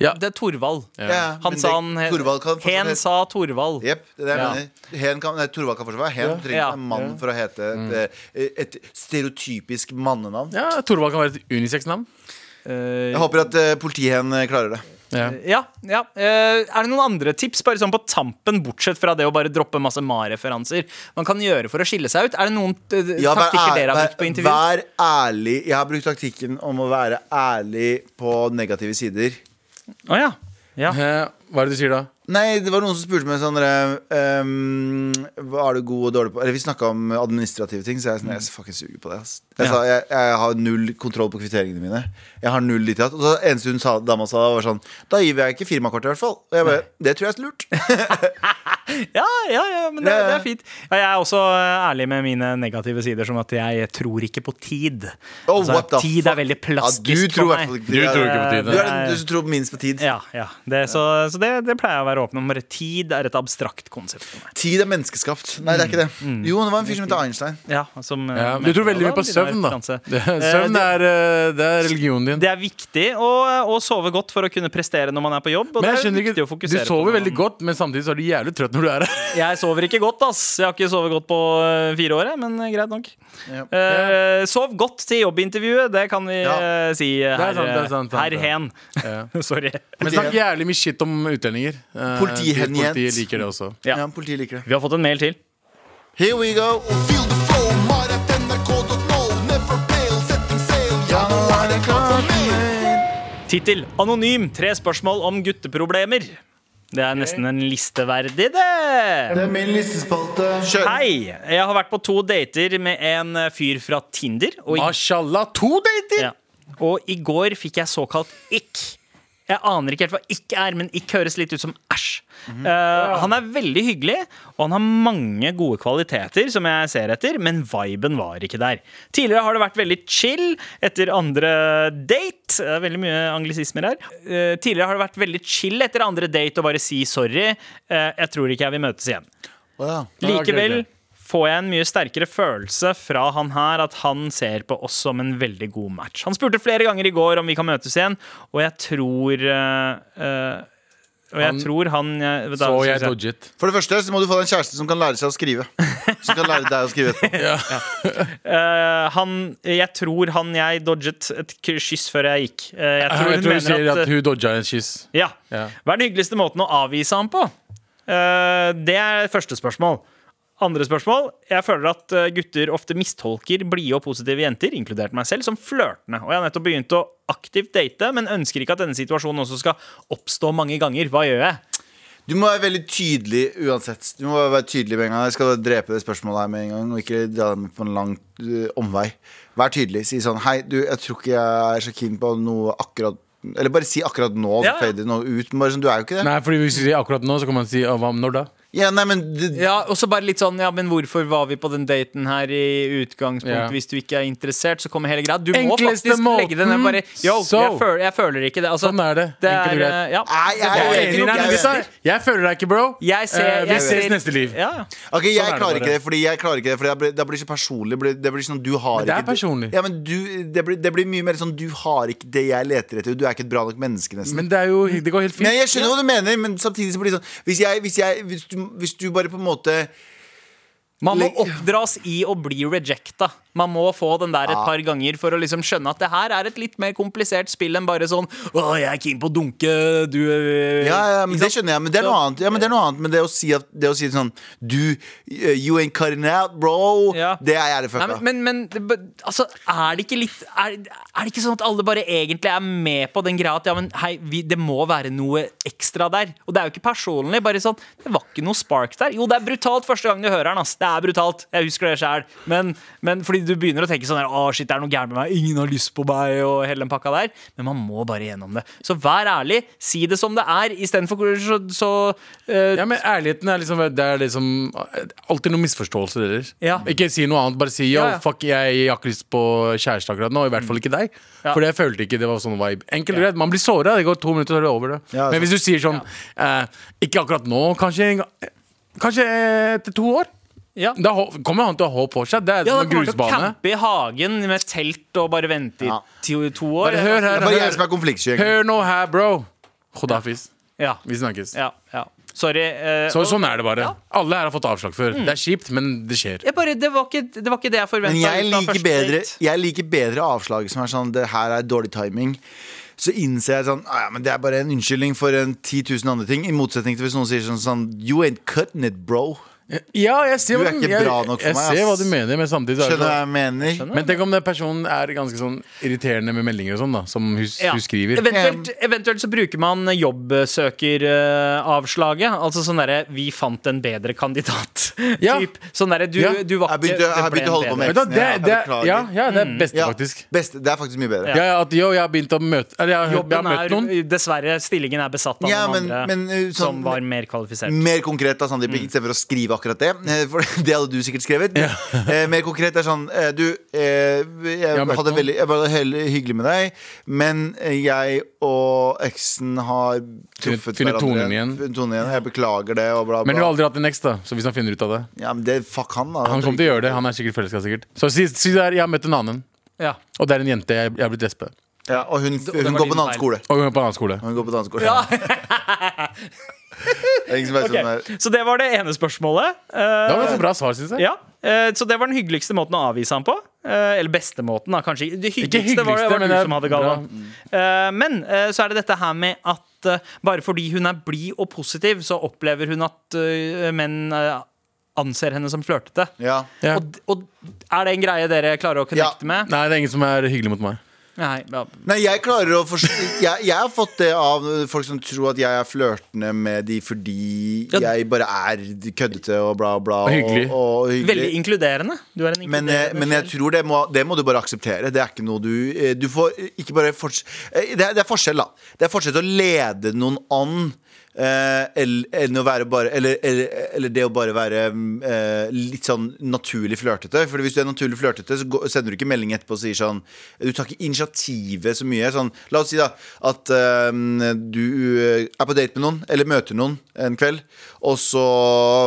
Speaker 4: Ja.
Speaker 2: Det er Torvald.
Speaker 3: Ja, men
Speaker 2: Han
Speaker 3: det-
Speaker 2: sa han
Speaker 3: Torvald kan fortsatt
Speaker 2: Hen
Speaker 3: hete-
Speaker 2: sa Torvald.
Speaker 3: Jep, det er det jeg
Speaker 2: Ja.
Speaker 3: mener. Hen kan, nei, Torvald kan fortsatt være hen. Du trenger
Speaker 2: Ja.
Speaker 3: ikke en mann for å hete et, eh, et stereotypisk mannenavn.
Speaker 4: Ja, Torvald kan være et unisex-navn.
Speaker 2: Eh,
Speaker 3: Jeg håper at uh, politihen eh, klarer det.
Speaker 4: Ja.
Speaker 2: ja, ja. Eh, er det noen andre tips bare sånn på tampen, bortsett fra det å bare droppe masse Ma-referanser, man kan gjøre for å skille seg ut? Er det noen eh,
Speaker 3: Ja, vær
Speaker 2: taktikker
Speaker 3: ær-
Speaker 2: dere har
Speaker 3: vær-
Speaker 2: brukt på intervju?
Speaker 3: Vær ærlig. Jeg har brukt taktikken om å være ærlig på negative sider.
Speaker 2: Å ja. ja.
Speaker 4: Eh, Hva er det du sier da?
Speaker 3: Nei, det var noen som spurte meg sånn eh, um, Hva er du god og dårlig på? Eller vi snakka om administrative ting, så jeg, er sånn, jeg fucking suger på det. Ass. Jeg, sa, jeg, jeg har null kontroll på kvitteringene mine. Jeg har null ditt og datt. Og så eneste hun sa, dama sa, var sånn Da gir jeg ikke firmakortet, i hvert fall. Og jeg bare Det tror jeg er lurt.
Speaker 2: Ja, ja, ja, men det,
Speaker 3: Ja, ja.
Speaker 2: det er fint. Ja, jeg er også eh, ærlig med mine negative sider, som at jeg tror ikke på tid.
Speaker 3: Oh,
Speaker 2: Altså,
Speaker 3: what the
Speaker 2: tid
Speaker 3: fuck?
Speaker 2: er veldig
Speaker 3: Ja,
Speaker 2: plastisk
Speaker 3: du tror i
Speaker 2: for
Speaker 3: hvert
Speaker 2: meg.
Speaker 3: fall ikke
Speaker 4: Du tror ikke på
Speaker 2: Eh,
Speaker 4: tiden.
Speaker 3: Du er
Speaker 2: Nei.
Speaker 3: den du som tror minst på tid.
Speaker 2: Ja, ja. Det, så så det, det pleier jeg å være åpen om. Bare Tid er et abstrakt konsept for meg.
Speaker 3: Tid er menneskeskapt. Nei, det er ikke det.
Speaker 2: Mm.
Speaker 3: Jo, det var en fyr som het Einstein.
Speaker 2: Ja, som, eh,
Speaker 4: Ja, du tror veldig mye på
Speaker 2: Det var en
Speaker 4: søvn,
Speaker 2: liten
Speaker 4: da.
Speaker 2: referanse.
Speaker 4: Det-
Speaker 2: Eh,
Speaker 4: Søvn
Speaker 2: det-
Speaker 4: er, eh, det er religionen din.
Speaker 2: Det er viktig å, å sove godt for å kunne prestere når man er på jobb. Og
Speaker 4: Men jeg
Speaker 2: det er
Speaker 4: skjønner
Speaker 2: viktig å
Speaker 4: ikke, Du
Speaker 2: fokusere på
Speaker 4: sover
Speaker 2: når
Speaker 4: veldig
Speaker 2: man-
Speaker 4: godt, men samtidig så er du jævlig trøtt når du er her.
Speaker 2: Jeg sover ikke godt, ass. Jeg har ikke sovet godt på eh, fire år, jeg, men eh, greit nok.
Speaker 3: Ja.
Speaker 2: Eh, sov godt til jobbintervjuet, det kan vi
Speaker 3: Ja.
Speaker 2: eh, si, eh,
Speaker 4: Det er
Speaker 2: herr
Speaker 4: sant, det er sant, sant,
Speaker 2: herr
Speaker 4: det.
Speaker 2: Hen. Sorry.
Speaker 4: Men snakk jævlig mye shit om utlendinger. Eh,
Speaker 3: Politihenjent.
Speaker 4: Politiet liker det også.
Speaker 2: Ja.
Speaker 3: Ja, politiet liker det.
Speaker 2: Vi har fått en mail til.
Speaker 3: Here we go.
Speaker 5: Feel the flow, maratnrk.no. Never fail, setting sail. Ja, nå er det klart for mer.
Speaker 2: Tittel Anonym. Tre spørsmål om gutteproblemer. Det er nesten en listeverdig, det.
Speaker 3: Det er min listespalte. Kjør.
Speaker 2: Hei! Jeg har vært på to dater med en eh, fyr fra Tinder. Og i,
Speaker 4: Mashallah, to dater!
Speaker 2: ja. og i går fikk jeg såkalt ick. Jeg aner ikke helt hva ikk er, men ikk høres litt ut som æsj. Eh, han er veldig hyggelig, og han har mange gode kvaliteter som jeg ser etter, men viben var ikke der. Tidligere har det vært veldig chill etter andre date. Det er veldig mye anglisismer her. Eh, tidligere har det vært veldig chill etter andre date og bare si sorry. eh, jeg tror ikke jeg vil møtes igjen.
Speaker 4: Ja, ok,
Speaker 2: Likevel
Speaker 4: ok.
Speaker 2: får jeg en mye sterkere følelse fra han her at han ser på oss som en veldig god match. Han spurte flere ganger i går om vi kan møtes igjen, og jeg tror eh, eh, Og jeg
Speaker 4: Han-
Speaker 2: tror han eh, da,
Speaker 4: Så
Speaker 2: skal
Speaker 4: jeg
Speaker 2: vi se.
Speaker 4: dodget.
Speaker 3: For det første så må du få deg en kjæreste som kan lære seg å skrive. Som kan lære deg å skrive etterpå.
Speaker 2: Eh, han, Jeg tror han jeg dodget et k- kyss før jeg gikk. Eh, jeg tror
Speaker 4: Jeg
Speaker 2: hun
Speaker 4: tror du sier
Speaker 2: mener at,
Speaker 4: at eh, hun dodga en kyss.
Speaker 2: ja.
Speaker 4: Ja.
Speaker 2: Hva er den hyggeligste måten å avvise ham på? Eh, det er første spørsmål. Andre spørsmål. Jeg føler at eh, gutter ofte mistolker blide og positive jenter, inkludert meg selv, som flørtende. Og jeg har nettopp begynt å aktivt date, men ønsker ikke at denne situasjonen også skal oppstå mange ganger. Hva gjør jeg?
Speaker 3: Du må være veldig tydelig uansett. Du må være tydelig med en gang Jeg skal drepe det spørsmålet her med en gang. Og ikke dra dem på en lang øh, omvei. Vær tydelig. Si sånn Hei, du, jeg tror ikke jeg er så keen på noe akkurat Eller bare si akkurat nå.
Speaker 2: Ja,
Speaker 3: Ja.
Speaker 2: ja.
Speaker 3: Fader noe ut. Men Bare sånn, du er jo ikke det.
Speaker 4: Nei, fordi hvis du sier akkurat nå, så kan man si «Å, hva om når da?
Speaker 3: Ja, nei, men det-
Speaker 2: Ja, og så bare litt sånn, ja, men hvorfor var vi på den daten her i
Speaker 4: Ja.
Speaker 2: utgangspunktet? Hvis du ikke er interessert, så kommer hele greia. Du må
Speaker 4: Enkleste
Speaker 2: faktisk legge det ned bare Yo, jeg,
Speaker 4: måten, so.
Speaker 2: føler, jeg føler ikke det. Altså,
Speaker 4: Sånn er det. Enkelt og
Speaker 2: er,
Speaker 4: greit.
Speaker 2: eh, ja.
Speaker 3: Nei, jeg er
Speaker 2: Det var
Speaker 3: uenig.
Speaker 2: enig, nei,
Speaker 3: Jeg er
Speaker 2: men
Speaker 3: uenig.
Speaker 2: gutter,
Speaker 4: Jeg føler deg ikke, bro.
Speaker 2: Jeg ser,
Speaker 4: Eh, vi
Speaker 2: jeg
Speaker 4: ses
Speaker 2: ser-
Speaker 4: neste liv.
Speaker 2: Ja, ja.
Speaker 3: Ok,
Speaker 4: er
Speaker 3: jeg
Speaker 4: det
Speaker 3: klarer
Speaker 4: bare.
Speaker 3: ikke det, Fordi jeg klarer ikke det Fordi det blir, det blir så personlig det blir, det blir sånn, du har
Speaker 4: Men det er
Speaker 3: ikke- du-
Speaker 4: personlig.
Speaker 3: Ja, men du, det, blir, det blir mye mer sånn Du har ikke det jeg leter etter Du er ikke et bra nok menneske nesten
Speaker 4: Men det er jo Det går helt
Speaker 3: Nei,
Speaker 4: fint.
Speaker 3: jeg skjønner hva du mener, men samtidig så blir det sånn Hvis, jeg, hvis, jeg, hvis, du, hvis du bare på en måte
Speaker 2: Man må
Speaker 3: Legg-
Speaker 2: oppdras i å bli rejecta. Man må få den der et par ganger for å liksom skjønne at det her er et litt mer komplisert spill enn bare sånn Å, jeg er keen på å dunke, du øh,
Speaker 3: Ja, ja, men
Speaker 2: ikke
Speaker 3: det
Speaker 2: sant?
Speaker 3: skjønner jeg, men det er noe annet. Ja, men det er noe annet Men det å si, at, det å si sånn Du, eh, you ain't cutting out, bro.
Speaker 2: Ja.
Speaker 3: Det er jævlig
Speaker 2: Nei,
Speaker 3: fucka.
Speaker 2: men, men, men det, bø- altså, er det ikke litt er, er det ikke sånn at alle bare egentlig er med på den greia at ja, men hei, vi, det må være noe ekstra der? Og det er jo ikke personlig. Bare sånn Det var ikke noe spark der. Jo, det er brutalt første gang du hører den. ass Det er brutalt. Jeg husker det sjæl. Men, men fordi du begynner å tenke sånn her Å, shit, det er noe gærent med meg. Ingen har lyst på meg, og hele den pakka der. Men man må bare gjennom det. Så vær ærlig. Si det som det er, istedenfor så, så eh,
Speaker 4: Ja, men ærligheten er liksom Det er liksom alltid noen misforståelser deres.
Speaker 2: Ja.
Speaker 4: Ikke si noe annet, bare si yo,
Speaker 2: Ja, ja.
Speaker 4: fuck, jeg, jeg har ikke lyst på kjæreste akkurat nå. I hvert fall ikke deg.
Speaker 2: Ja.
Speaker 4: For jeg følte ikke det var sånn vibe. Enkelt og greit. Man blir såra. Det går to minutter, så er det over. det
Speaker 3: Ja,
Speaker 4: Men
Speaker 3: sant.
Speaker 4: hvis du sier sånn eh, Ikke akkurat nå, kanskje en gang- eh, Kanskje etter to år.
Speaker 2: Ja.
Speaker 4: Da hå- kommer han til å ha håp for seg. Det er
Speaker 2: Ja,
Speaker 4: som
Speaker 2: da
Speaker 4: en
Speaker 2: kommer han til å
Speaker 4: grusbane.
Speaker 2: campe i hagen med telt og bare vente i
Speaker 3: Ja.
Speaker 2: ti, to år.
Speaker 4: Bare hør
Speaker 3: det
Speaker 4: her,
Speaker 3: er bare jeg
Speaker 4: hør,
Speaker 3: som er konfliktsky. egentlig.
Speaker 4: hør nå her, bro. Khodafis.
Speaker 2: Ja,
Speaker 4: Vi snakkes.
Speaker 2: ja, ja. Sorry. eh,
Speaker 4: Så,
Speaker 2: og-
Speaker 4: sånn er det bare.
Speaker 2: Ja.
Speaker 4: Alle her har fått avslag før. Det er kjipt, men det skjer.
Speaker 2: jeg bare, det, var ikke, det var ikke det jeg forventa.
Speaker 3: Men jeg liker, bedre, jeg liker bedre avslag som er sånn Det her er dårlig timing. Så innser jeg sånn «Ah, ja, men Det er bare en unnskyldning for en 10 000 andre ting. I motsetning til hvis noen sier sånn, sånn You ain't cutting it, bro.
Speaker 4: Ja, jeg ser,
Speaker 3: Du
Speaker 4: hva
Speaker 3: er
Speaker 4: du-
Speaker 3: ikke
Speaker 4: jeg,
Speaker 3: bra nok for
Speaker 4: jeg
Speaker 3: meg,
Speaker 4: ser hva
Speaker 3: ass.
Speaker 4: du mener, men samtidig så er
Speaker 3: Skjønner du hva
Speaker 4: det
Speaker 3: jeg mener?
Speaker 4: sånn- Men tenk om den personen er ganske sånn irriterende med meldinger og sånn, da, som hun, hun skriver.
Speaker 2: Eventuelt, eventuelt så bruker man jobbsøkeravslaget. altså sånn derre 'vi fant en bedre kandidat'.
Speaker 4: Ja.
Speaker 2: Typ. Sånn derre du,
Speaker 4: Ja.
Speaker 2: du var
Speaker 3: Jeg
Speaker 2: ikke
Speaker 3: begynte- jeg
Speaker 2: det ble
Speaker 3: begynte å holde
Speaker 2: en
Speaker 3: på
Speaker 2: bedre.
Speaker 3: med-
Speaker 4: Vet du hva, det,
Speaker 3: Jeg
Speaker 4: det,
Speaker 3: beklager.
Speaker 4: ja, ja, det er beste,
Speaker 3: Ja,
Speaker 4: faktisk.
Speaker 3: beste, det er faktisk mye bedre.
Speaker 4: Mm. Ja, ja, at yo, jeg har begynt å møte Eller jeg, har- jeg
Speaker 2: Jobben
Speaker 4: har møtt noen.
Speaker 2: er Dessverre, stillingen er besatt av
Speaker 3: Ja,
Speaker 2: noen
Speaker 3: men-
Speaker 2: andre
Speaker 3: men, eh, sånn-
Speaker 2: som var mer kvalifisert.
Speaker 3: Mer konkret da, Sandeep,
Speaker 4: Mm.
Speaker 3: istedenfor å skrive akkurat det. eh, For det hadde du sikkert skrevet. eh, mer konkret er sånn eh, Du, eh, jeg,
Speaker 4: har møtt
Speaker 3: hadde
Speaker 4: noen.
Speaker 3: veldig, jeg var veldig hyggelig med deg, men eh, jeg og eksen har truffet
Speaker 4: finner tonen igjen.
Speaker 3: Finner tonen igjen. Jeg beklager det, og bla, bla.
Speaker 4: Men hun har aldri hatt en ex, da, så hvis han finner ut av det
Speaker 3: Ja, men det, fuck han, da.
Speaker 4: Han kommer til å gjøre det. Han er sikkert forelska, sikkert. Så si, si det er, jeg har møtt en annen,
Speaker 2: Ja.
Speaker 4: og det er en jente jeg, jeg har blitt SP.
Speaker 3: ja, og hun,
Speaker 2: det var
Speaker 3: hun går på en
Speaker 2: din
Speaker 3: annen
Speaker 2: feil.
Speaker 3: skole.
Speaker 4: Og hun er på en annen skole.
Speaker 3: Hun går på en annen skole.
Speaker 2: Ja.
Speaker 3: Det er ingen som vet hvem
Speaker 2: Ok,
Speaker 3: det sånn er.
Speaker 2: Så det var det ene spørsmålet. Eh,
Speaker 4: Det var ganske bra svar, syns jeg.
Speaker 2: Ja, eh, Så det var den hyggeligste måten å avvise han på. Eh, Eller bestemåten, da, kanskje. Det hyggeligste, var det,
Speaker 4: hyggeligste,
Speaker 2: var du
Speaker 4: men det er
Speaker 2: som hadde
Speaker 4: bra.
Speaker 2: gallaen. Eh, Men eh, så er det dette her med at eh, bare fordi hun er blid og positiv, så opplever hun at eh, menn eh, anser henne som flørtete.
Speaker 3: Ja.
Speaker 4: Ja.
Speaker 2: Og, og er det en greie dere klarer å
Speaker 3: Ja.
Speaker 2: connecte med?
Speaker 4: Nei, det er ingen som er hyggelig mot meg.
Speaker 2: Nei. Ja.
Speaker 3: Nei, jeg klarer å forstå jeg, jeg har fått det av folk som tror at jeg er flørtende med de fordi
Speaker 2: Ja.
Speaker 3: jeg bare er køddete og bla, bla.
Speaker 4: Og hyggelig.
Speaker 3: Og, og
Speaker 2: Veldig
Speaker 3: hyggelig.
Speaker 2: inkluderende. Du er en
Speaker 3: Men,
Speaker 2: inkluderende
Speaker 3: eh, men jeg
Speaker 2: sjel.
Speaker 3: tror det må, det må du bare akseptere. Det er ikke noe du eh, Du får ikke bare forts eh, det, er, det er forskjell, da. Det er forskjell til å lede noen an. eh, eller, enn å være bare, eller, eller, eller det å bare være mm, eh, litt sånn naturlig flørtete. For hvis du er naturlig flørtete, så går, sender du ikke melding etterpå og sier sånn Du tar ikke initiativet så mye. Sånn, la oss si da at eh, du eh, er på date med noen, eller møter noen eh, en kveld, og så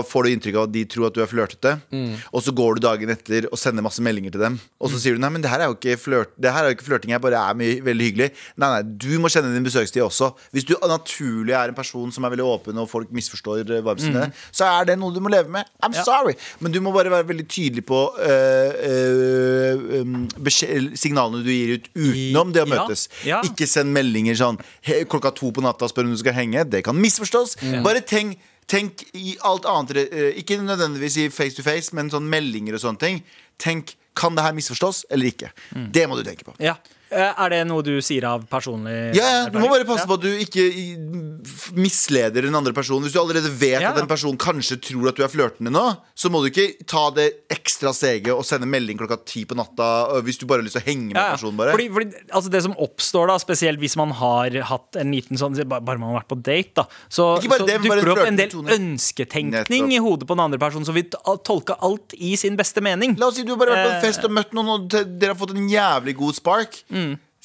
Speaker 3: får du inntrykk av at de tror at du er flørtete,
Speaker 2: Mm.
Speaker 3: og så går du dagen etter og sender masse meldinger til dem, og så sier du nei, men det her er jo ikke, flørt, det her er jo ikke flørting, jeg bare er mye, veldig hyggelig. Nei, nei, du må kjenne din besøkstid også. Hvis du av naturlig er en person som er veldig åpen, og folk misforstår eh,
Speaker 2: Mm.
Speaker 3: vibesene dine, så er det noe du må leve med. I'm sorry! Men du må bare være veldig tydelig på eh, eh, um, beskje- signalene du gir ut utenom det å
Speaker 2: Ja,
Speaker 3: møtes.
Speaker 2: ja.
Speaker 3: Ikke ikke send meldinger sånn he, klokka to på natta og spør om du skal henge. Det kan misforstås. Bare tenk, tenk i alt annet eh, Ikke nødvendigvis i face to face,
Speaker 2: Mm.
Speaker 3: men sånn meldinger og sånne ting. Tenk kan det her misforstås eller ikke? Det må du tenke på.
Speaker 2: Ja. Eh, Er det noe du sier av personlig
Speaker 3: Ja, ja, Du må
Speaker 2: erfaring?
Speaker 3: bare passe
Speaker 2: Ja.
Speaker 3: på at du ikke i- f- misleder den andre personen. Hvis du allerede vet
Speaker 2: Ja,
Speaker 3: at
Speaker 2: ja.
Speaker 3: en person kanskje tror at du er flørtende nå, så må du ikke ta det ekstra steget og sende melding klokka ti på natta øh, hvis du bare har lyst til å henge med
Speaker 2: Ja, ja.
Speaker 3: personen. bare
Speaker 2: Fordi, fordi, altså det som oppstår, da spesielt hvis man har hatt en liten sånn ba- Bare man har vært på date, da. Så,
Speaker 3: Ikke bare
Speaker 2: så
Speaker 3: det, men bare
Speaker 2: dukker det opp en del
Speaker 3: flørtetone.
Speaker 2: ønsketenkning
Speaker 3: Nettopp.
Speaker 2: i hodet på den andre personen som vil ta- tolke alt i sin beste mening.
Speaker 3: La oss si du har bare vært på en
Speaker 2: Eh.
Speaker 3: fest og møtt noen, og te- dere har fått en jævlig god spark.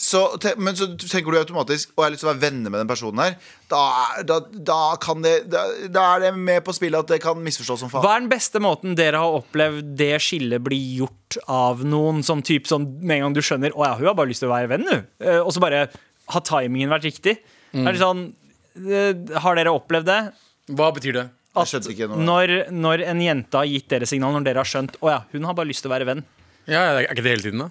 Speaker 3: Så, te, men så tenker du automatisk Og jeg har lyst til å være venner med den personen her. Da, er- da, da, kan det, da, da er det med på spillet at det kan misforstås som faen.
Speaker 2: Hva er den beste måten dere har opplevd det skillet bli gjort av noen? Som typ sånn, med en gang du skjønner 'Å ja, hun har bare lyst til å være venn, hun'. Eh, Og så bare har timingen vært riktig? Er det sånn eh, Har dere opplevd det?
Speaker 4: Hva betyr det?
Speaker 3: Jeg skjønte ikke noe.
Speaker 2: Når, når en jente har gitt dere signal, når dere har skjønt 'Å ja, hun har bare lyst til å være venn'.
Speaker 4: Ja, ja, Er ikke det hele tiden, da?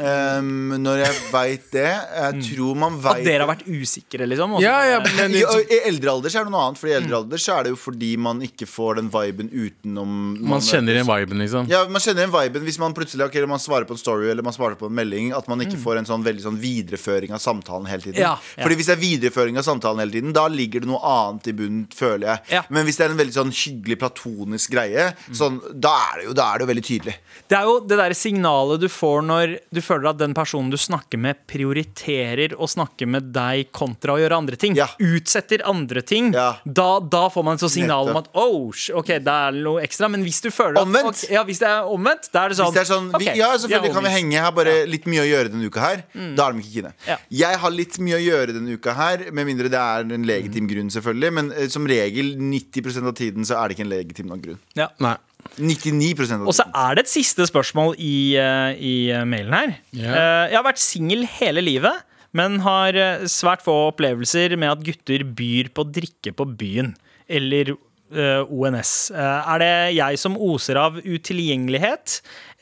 Speaker 3: Ehm, når jeg veit det Jeg tror man
Speaker 2: At
Speaker 3: veit
Speaker 2: dere har vært usikre, liksom? og så
Speaker 4: Ja, ja,
Speaker 2: bare-
Speaker 4: men
Speaker 3: I, I eldre alder så er det noe annet. Fordi i eldre alder så er det jo fordi man ikke får den viben utenom
Speaker 4: Man kjenner igjen viben, liksom.
Speaker 3: Ja, Man kjenner igjen viben hvis man plutselig ok, eller man svarer på en story eller man svarer på en melding. At man ikke får en sånn veldig sånn videreføring av samtalen hele tiden.
Speaker 2: Mm. Ja, ja.
Speaker 3: Fordi hvis det er videreføring av samtalen hele tiden, da ligger det noe annet i bunnen, føler jeg.
Speaker 2: Ja. Mm.
Speaker 3: Men hvis det er en veldig sånn hyggelig, platonisk greie, sånn, da, er det jo, da er det jo veldig tydelig.
Speaker 2: Det er jo det der signalet du får når du føler at den personen du snakker med, prioriterer å snakke med deg kontra å gjøre andre ting.
Speaker 3: Ja.
Speaker 2: Utsetter andre ting.
Speaker 3: Ja.
Speaker 2: Da, da får man så signal om
Speaker 3: Nettopp.
Speaker 2: at oh, sh- ok, det er noe ekstra. Men hvis du føler at,
Speaker 3: Omvendt.
Speaker 2: ok, ja, hvis det er omvendt, da er det sånn,
Speaker 3: Hvis det er sånn vi,
Speaker 2: ok,
Speaker 3: Ja,
Speaker 2: jeg
Speaker 3: selvfølgelig kan vi
Speaker 2: overbevist. Mm.
Speaker 3: henge. Jeg har bare litt mye å gjøre denne uka her. Da er de ikke kine.
Speaker 2: Ja.
Speaker 3: Jeg har litt mye å gjøre denne uka her, med mindre det er en
Speaker 2: Mm.
Speaker 3: legitim grunn, selvfølgelig. Men eh, som regel 90 av tiden så er det ikke en legitim nok grunn.
Speaker 2: Ja.
Speaker 4: Nei.
Speaker 3: 99 av tiden.
Speaker 2: Og så er det et siste spørsmål i, eh, i eh, mailen her.
Speaker 4: Ja.
Speaker 2: Eh, Jeg har vært singel hele livet, men har eh, svært få opplevelser med at gutter byr på drikke på byen. Eller eh, ONS. Eh, er det jeg som oser av utilgjengelighet,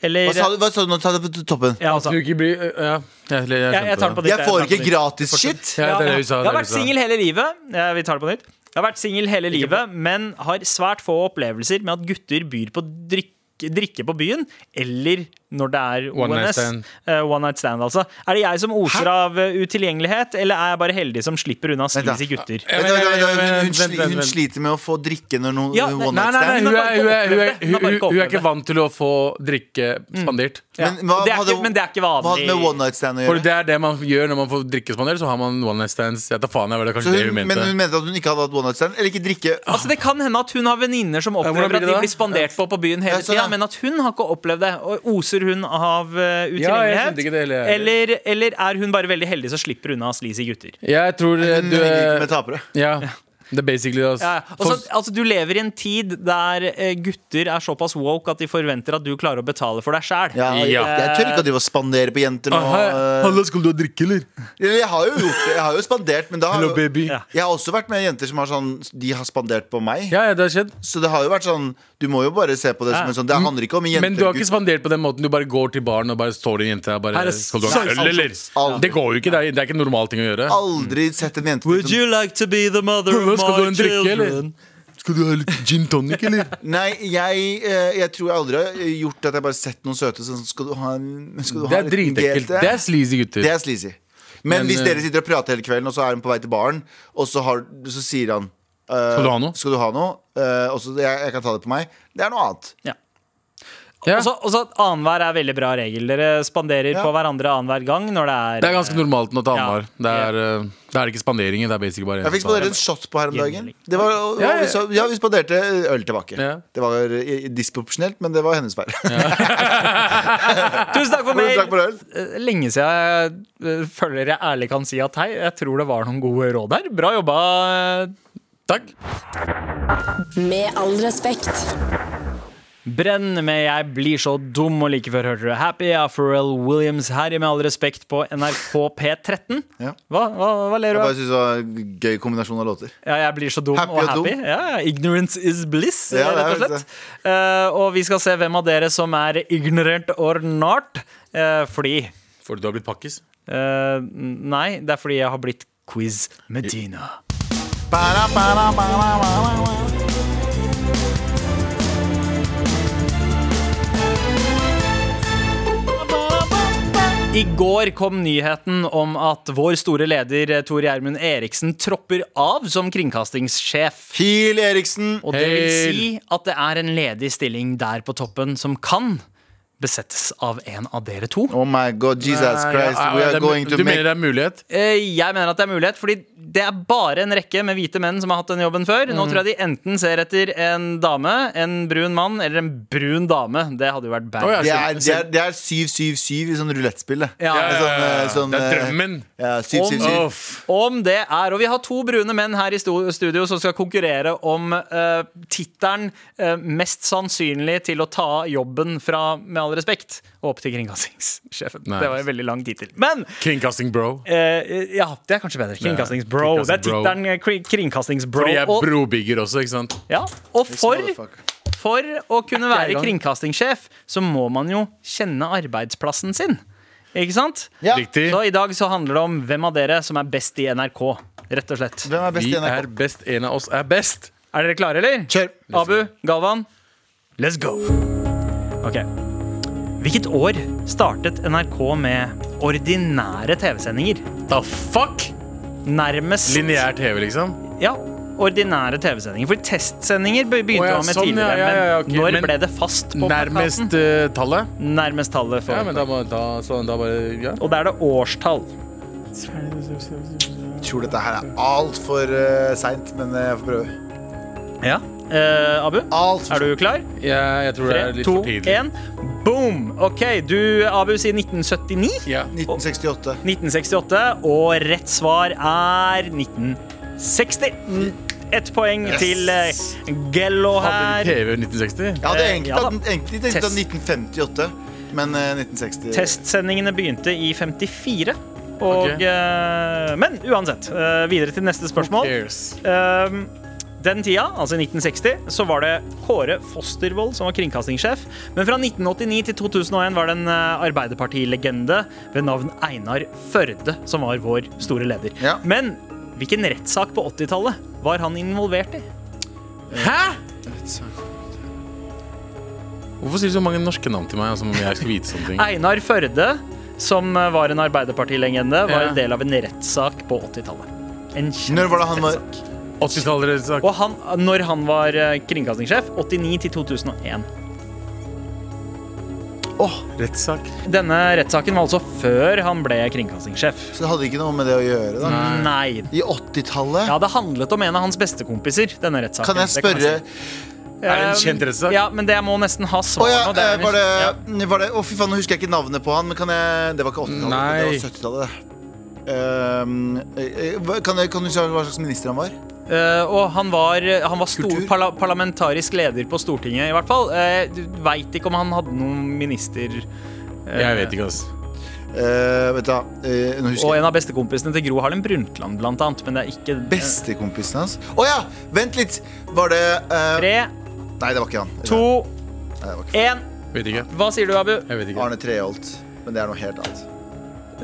Speaker 2: eller
Speaker 3: hva sa du? Hva sa du? Nå tar jeg det på toppen.
Speaker 2: Ja, altså,
Speaker 4: Du ikke blir Ja, jeg, jeg,
Speaker 2: jeg, jeg tar det på ditt.
Speaker 3: Jeg
Speaker 2: tar det
Speaker 3: får ikke
Speaker 2: på ditt.
Speaker 3: gratis shit.
Speaker 4: Ja, det er det
Speaker 2: Jeg
Speaker 4: du sa. det er
Speaker 2: har
Speaker 4: det
Speaker 2: vært
Speaker 4: du sa.
Speaker 2: singel hele livet. Eh, Vi tar det på nytt. Jeg har vært singel hele livet, men har svært få opplevelser med at gutter byr på drikke, drikke på byen, eller når det er
Speaker 4: One night
Speaker 2: ONS.
Speaker 4: stand.
Speaker 2: Eh, one night stand, altså. Er det jeg som oser av eh, utilgjengelighet, eller er jeg bare heldig som slipper unna
Speaker 3: Vent da.
Speaker 2: sleazy gutter?
Speaker 4: Ja,
Speaker 3: Vent, vent,
Speaker 4: men-
Speaker 3: vent,
Speaker 4: men-
Speaker 3: Hun,
Speaker 4: vent,
Speaker 3: sli-
Speaker 4: vent,
Speaker 3: hun
Speaker 4: vent.
Speaker 3: sliter med å få drikke når noen
Speaker 2: Ja, nei,
Speaker 3: one
Speaker 4: Nei,
Speaker 3: night
Speaker 4: nei, nei,
Speaker 3: stand.
Speaker 4: hun er, hun, er, hun, er,
Speaker 2: Hun har bare
Speaker 4: hun,
Speaker 2: ikke
Speaker 4: hun er Mm. ikke
Speaker 2: opplevd det.
Speaker 4: vant til å få drikke spandert.
Speaker 2: Ja.
Speaker 3: Men hva
Speaker 2: Og det er
Speaker 3: hadde-
Speaker 2: ikke- men det er ikke
Speaker 3: Hva hadde med
Speaker 2: vanlig.
Speaker 3: one night stand å
Speaker 4: For
Speaker 3: gjøre?
Speaker 4: det er det man gjør når man får drikke spandert, så har man one night stands. Jeg tar faen, jeg, var det
Speaker 3: Så
Speaker 4: kanskje det
Speaker 3: hun,
Speaker 4: hun
Speaker 3: men
Speaker 4: mente.
Speaker 3: hun mente at hun ikke hadde hatt one night stand? Eller ikke drikke?
Speaker 4: Ah,
Speaker 2: Altså Det kan hende at hun har venninner som
Speaker 4: hvordan
Speaker 2: opplever
Speaker 4: blir
Speaker 2: at
Speaker 4: det
Speaker 2: de
Speaker 4: da?
Speaker 2: blir spandert på på byen hele
Speaker 3: Ja, sånn,
Speaker 2: tida,
Speaker 3: ja.
Speaker 2: men at hun har ikke opplevd det. Og Oser hun av eh,
Speaker 4: Ja, jeg skjønte
Speaker 2: utilgjengelighet?
Speaker 4: ikke det heller, jeg.
Speaker 2: eller, eller er hun bare veldig heldig som slipper unna sleazy gutter?
Speaker 4: Jeg tror eh,
Speaker 3: Hun
Speaker 4: du
Speaker 3: henger
Speaker 4: eh,
Speaker 3: ut med tapere.
Speaker 4: Ja. Det er basically det.
Speaker 2: Ja,
Speaker 4: Altså.
Speaker 2: ja. Og så- altså, du lever i en tid der eh, gutter er såpass woke at de forventer at du klarer å betale for deg sjæl.
Speaker 3: Ja, jeg,
Speaker 4: Ja.
Speaker 3: jeg tør ikke at de var spandere på jenter
Speaker 4: Ah,
Speaker 3: nå. eh.
Speaker 4: skal du ha drikke, eller?
Speaker 3: Eller jeg har jo gjort det. Jeg har jo spandert, men da har
Speaker 4: Hello,
Speaker 3: jo,
Speaker 4: baby.
Speaker 2: Ja.
Speaker 4: Ja,
Speaker 3: jeg har også vært med jenter som har sånn De har spandert på meg.
Speaker 4: ja, det har skjedd.
Speaker 3: Så det har jo vært sånn Du må jo bare se på det som en sånn Det handler ikke om jenter
Speaker 4: Men du har ikke
Speaker 3: gutt.
Speaker 4: spandert på den måten. Du bare går til baren og bare står i en jente og
Speaker 2: Her er
Speaker 4: bare Skal du ha
Speaker 2: salt-
Speaker 4: en øl, eller?
Speaker 3: Aldri.
Speaker 4: Det går jo ikke. Det er, det er ikke en normal ting å gjøre.
Speaker 3: Aldri sett en jente som,
Speaker 2: like to be the mother
Speaker 4: Skal du ha en drikke, eller? Skal du ha litt gin tonic, eller?
Speaker 3: Nei, jeg, eh, jeg tror jeg aldri har gjort at jeg bare sett noen søte sånn Skal du ha en skal du
Speaker 4: Det
Speaker 3: ha
Speaker 4: er
Speaker 3: en liten GLT?
Speaker 4: dritekkelt. Det er sleazy gutter.
Speaker 3: Det er sleazy. Men,
Speaker 4: Men,
Speaker 3: hvis
Speaker 4: eh,
Speaker 3: dere sitter og prater hele kvelden, og så er hun på vei til baren, og så, har, så sier han eh,
Speaker 4: Skal du ha noe?
Speaker 3: Skal du ha noe? Eh, og så jeg, jeg kan ta det på meg. Det er noe annet.
Speaker 4: Ja.
Speaker 2: Også, også at annenhver er veldig bra regel. Dere spanderer
Speaker 3: Ja.
Speaker 2: på hverandre annenhver gang når det er
Speaker 4: Det er ganske normalt nå til
Speaker 2: Ja.
Speaker 4: Hamar. Det, er, eh, det er ikke spanderinger, det er basically bare
Speaker 3: Jeg fikk spandert en shot på her om dagen. Det var, og,
Speaker 4: Ja,
Speaker 3: og vi,
Speaker 4: ja.
Speaker 3: så, ja, vi spanderte øl tilbake.
Speaker 4: Ja.
Speaker 3: Det var eh, disproporsjonelt, men det var hennes feil.
Speaker 2: Tusen takk for
Speaker 3: Men
Speaker 2: mail!
Speaker 3: takk for øl.
Speaker 2: Eh, Lenge siden jeg eh, føler jeg ærlig kan si at hei, jeg tror det var noen gode råd her. Bra jobba. eh,
Speaker 4: Takk.
Speaker 7: Med all respekt.
Speaker 2: Brenn med Jeg blir så dum, og like før hørte du Happy av Pharrell Williams her i Med all respekt på NRK P13.
Speaker 3: Ja.
Speaker 2: Hva, hva, hva ler
Speaker 3: Jeg
Speaker 2: du av?
Speaker 3: bare synes det var en gøy kombinasjon av låter.
Speaker 2: Ja, jeg blir så dum
Speaker 3: Happy
Speaker 2: og
Speaker 3: og
Speaker 2: happy.
Speaker 3: dum.
Speaker 2: Ja, ja, ignorance is bliss,
Speaker 3: Ja, det er
Speaker 2: rett og slett.
Speaker 3: det.
Speaker 2: Eh, og vi skal se hvem av dere som er ignorant or not. Eh, fordi
Speaker 4: For du har blitt pakkis.
Speaker 2: eh, Nei, det er fordi jeg har blitt Quiz Medina.
Speaker 3: Ba-da, ba-da, ba-da, ba-da, ba-da.
Speaker 2: I går kom nyheten om at vår store leder eh, Tor Gjermund Eriksen tropper av som kringkastingssjef.
Speaker 3: Pil Eriksen.
Speaker 2: Og det vil
Speaker 4: Hail.
Speaker 2: si at det er en ledig stilling der på toppen som kan besettes av en av dere to.
Speaker 3: Oh my god, Jesus
Speaker 4: Nei,
Speaker 3: Christ.
Speaker 4: ja, ja,
Speaker 3: We
Speaker 4: det
Speaker 3: are
Speaker 4: er mu-
Speaker 3: going to
Speaker 4: du mener
Speaker 3: make
Speaker 4: det er mulighet?
Speaker 2: Eh, Jeg mener at det er mulighet, fordi det er bare en rekke med hvite menn som har hatt den jobben før.
Speaker 4: Mm.
Speaker 2: Nå tror jeg de enten ser etter en dame, en brun mann eller en brun dame. Det hadde jo vært bad.
Speaker 4: Å, ja.
Speaker 3: det er, det er, det er 777 i sånn rulettspill. det.
Speaker 2: Ja,
Speaker 3: Det er sånn, eh, sånn,
Speaker 4: det er
Speaker 3: eh,
Speaker 4: drømmen.
Speaker 3: Ja, 777.
Speaker 4: Uff.
Speaker 2: Om det er, og Vi har to brune menn her i sto- studio som skal konkurrere om uh, tittelen eh, mest sannsynlig til å ta jobben fra Med all respekt og opp til kringkastingssjefen.
Speaker 4: Nice.
Speaker 2: Det var en veldig lang tittel. Men
Speaker 4: Kringkasting, bro.
Speaker 2: eh, ja, det er kanskje bedre. Kringkastingsbro. det er
Speaker 4: Kringkastingsbro.
Speaker 2: tittelen eh, kri- Kringkastingsbro.
Speaker 4: Fordi jeg er
Speaker 2: Og-
Speaker 4: brobygger også, ikke sant?
Speaker 2: Ja, og for, for å kunne være kringkastingssjef, så må man jo kjenne arbeidsplassen sin. Ikke sant?
Speaker 3: Ja.
Speaker 4: Riktig.
Speaker 2: Så i dag så handler det om hvem av dere som er best i NRK. Rett og slett.
Speaker 3: Hvem er best
Speaker 4: Vi
Speaker 3: i
Speaker 4: er
Speaker 3: NRK?
Speaker 4: best. En av oss er best.
Speaker 2: Er dere klare, eller?
Speaker 3: Kjør.
Speaker 2: Abu, Galvan, let's go. Ok. Hvilket år startet NRK med ordinære TV-sendinger?
Speaker 4: The fuck?
Speaker 2: Nærmest
Speaker 4: Lineær TV, liksom?
Speaker 2: Ja, ordinære TV-sendinger. For testsendinger be- begynte
Speaker 4: Å, ja,
Speaker 2: man med
Speaker 4: sånn, ja,
Speaker 2: tidligere.
Speaker 4: ja, ja, ok.
Speaker 2: Men når
Speaker 4: Men
Speaker 2: ble det fast på plakaten?
Speaker 4: Nærmest eh, tallet?
Speaker 2: Nærmest tallet for
Speaker 4: Ja, men da, må- da, sånn, da bare ja.
Speaker 2: Og da er det årstall.
Speaker 3: Jeg tror dette her er altfor uh, seint, men eh, jeg får prøve.
Speaker 2: Ja. Eh, Abu,
Speaker 3: Alt
Speaker 2: er
Speaker 3: for
Speaker 2: du klar?
Speaker 4: ja. Jeg tror det er
Speaker 2: Tre,
Speaker 4: litt
Speaker 2: to,
Speaker 4: for tidlig.
Speaker 2: én. Boom! OK, du, Abu, sier 1979.
Speaker 4: Ja.
Speaker 3: 1968.
Speaker 2: 1968. Og rett svar er 1960. Ett poeng til eh, Gello
Speaker 4: Hadde
Speaker 2: her.
Speaker 4: vi TV 1960?
Speaker 3: Jeg hadde
Speaker 2: Eh,
Speaker 3: egentlig
Speaker 2: ja da.
Speaker 3: tatt- egentlig tenkt
Speaker 2: Test.
Speaker 3: at 1958, men eh, 1960
Speaker 2: Testsendingene begynte i 54. Og,
Speaker 4: Ok.
Speaker 2: eh, men uansett, eh, videre til neste spørsmål.
Speaker 4: Years.
Speaker 2: Ehm, den tida, altså 1960, så var det Kåre Fostervold som var kringkastingssjef. Men fra 1989 til 2001 var det en eh, Arbeiderpartilegende ved navn Einar Førde som var vår store leder.
Speaker 3: Ja.
Speaker 2: Men hvilken rettssak på 80-tallet var han involvert i?
Speaker 4: Hæ? Hvorfor sier du så mange norske navn til meg? Som om jeg skal vite sånne ting
Speaker 2: Einar Førde, som eh, var en Arbeiderpartilegende, var
Speaker 4: Ja.
Speaker 2: en del av en rettssak på 80-tallet. En kjent
Speaker 3: Når var det han var-
Speaker 2: rettssak.
Speaker 4: 80-tallet sagt
Speaker 2: Og han, når han var eh, kringkastingssjef, 89 til 2001.
Speaker 4: rettssak.
Speaker 2: Denne rettssaken var altså før han ble kringkastingssjef.
Speaker 3: Så det hadde ikke noe med det å gjøre, da.
Speaker 2: Nei.
Speaker 3: I 80-tallet
Speaker 2: Ja, det handlet om en av hans bestekompiser. Denne rettssaken.
Speaker 3: Kan jeg
Speaker 2: Det
Speaker 3: spørre
Speaker 2: si.
Speaker 4: Er det en kjent rettssak?
Speaker 2: Ja, men det jeg må nesten ha
Speaker 3: Å
Speaker 2: svar
Speaker 3: ja,
Speaker 2: nå. Det er
Speaker 3: eh, var det,
Speaker 2: ja.
Speaker 3: var det Å, fy faen, nå husker jeg ikke navnet på han, men kan jeg Det var ikke 80-tallet, det
Speaker 4: Nei.
Speaker 3: var 70-tallet. det. Ehm, eh, hva- kan, jeg- kan du si hva slags minister han var?
Speaker 2: Eh, og han var, han var stor
Speaker 3: Kultur?
Speaker 2: parla parlamentarisk leder på Stortinget, i hvert fall. Eh, du veit ikke om han hadde noen minister
Speaker 4: Jeg vet ikke, ass.
Speaker 3: Eh, vet du, hva, eh, nå
Speaker 2: Og
Speaker 3: husker jeg
Speaker 2: en av bestekompisene til Gro Harlem Brundtland, blant annet. Men det er ikke
Speaker 3: Bestekompisen hans. Å ja! Vent litt! Var det eh,
Speaker 2: Tre,
Speaker 3: Nei, det var ikke han.
Speaker 2: to,
Speaker 3: Nei, det var ikke.
Speaker 2: én.
Speaker 4: Vet ikke.
Speaker 2: Hva sier du, Abu?
Speaker 4: Jeg vet ikke.
Speaker 3: Arne Treholt. Men det er noe helt annet.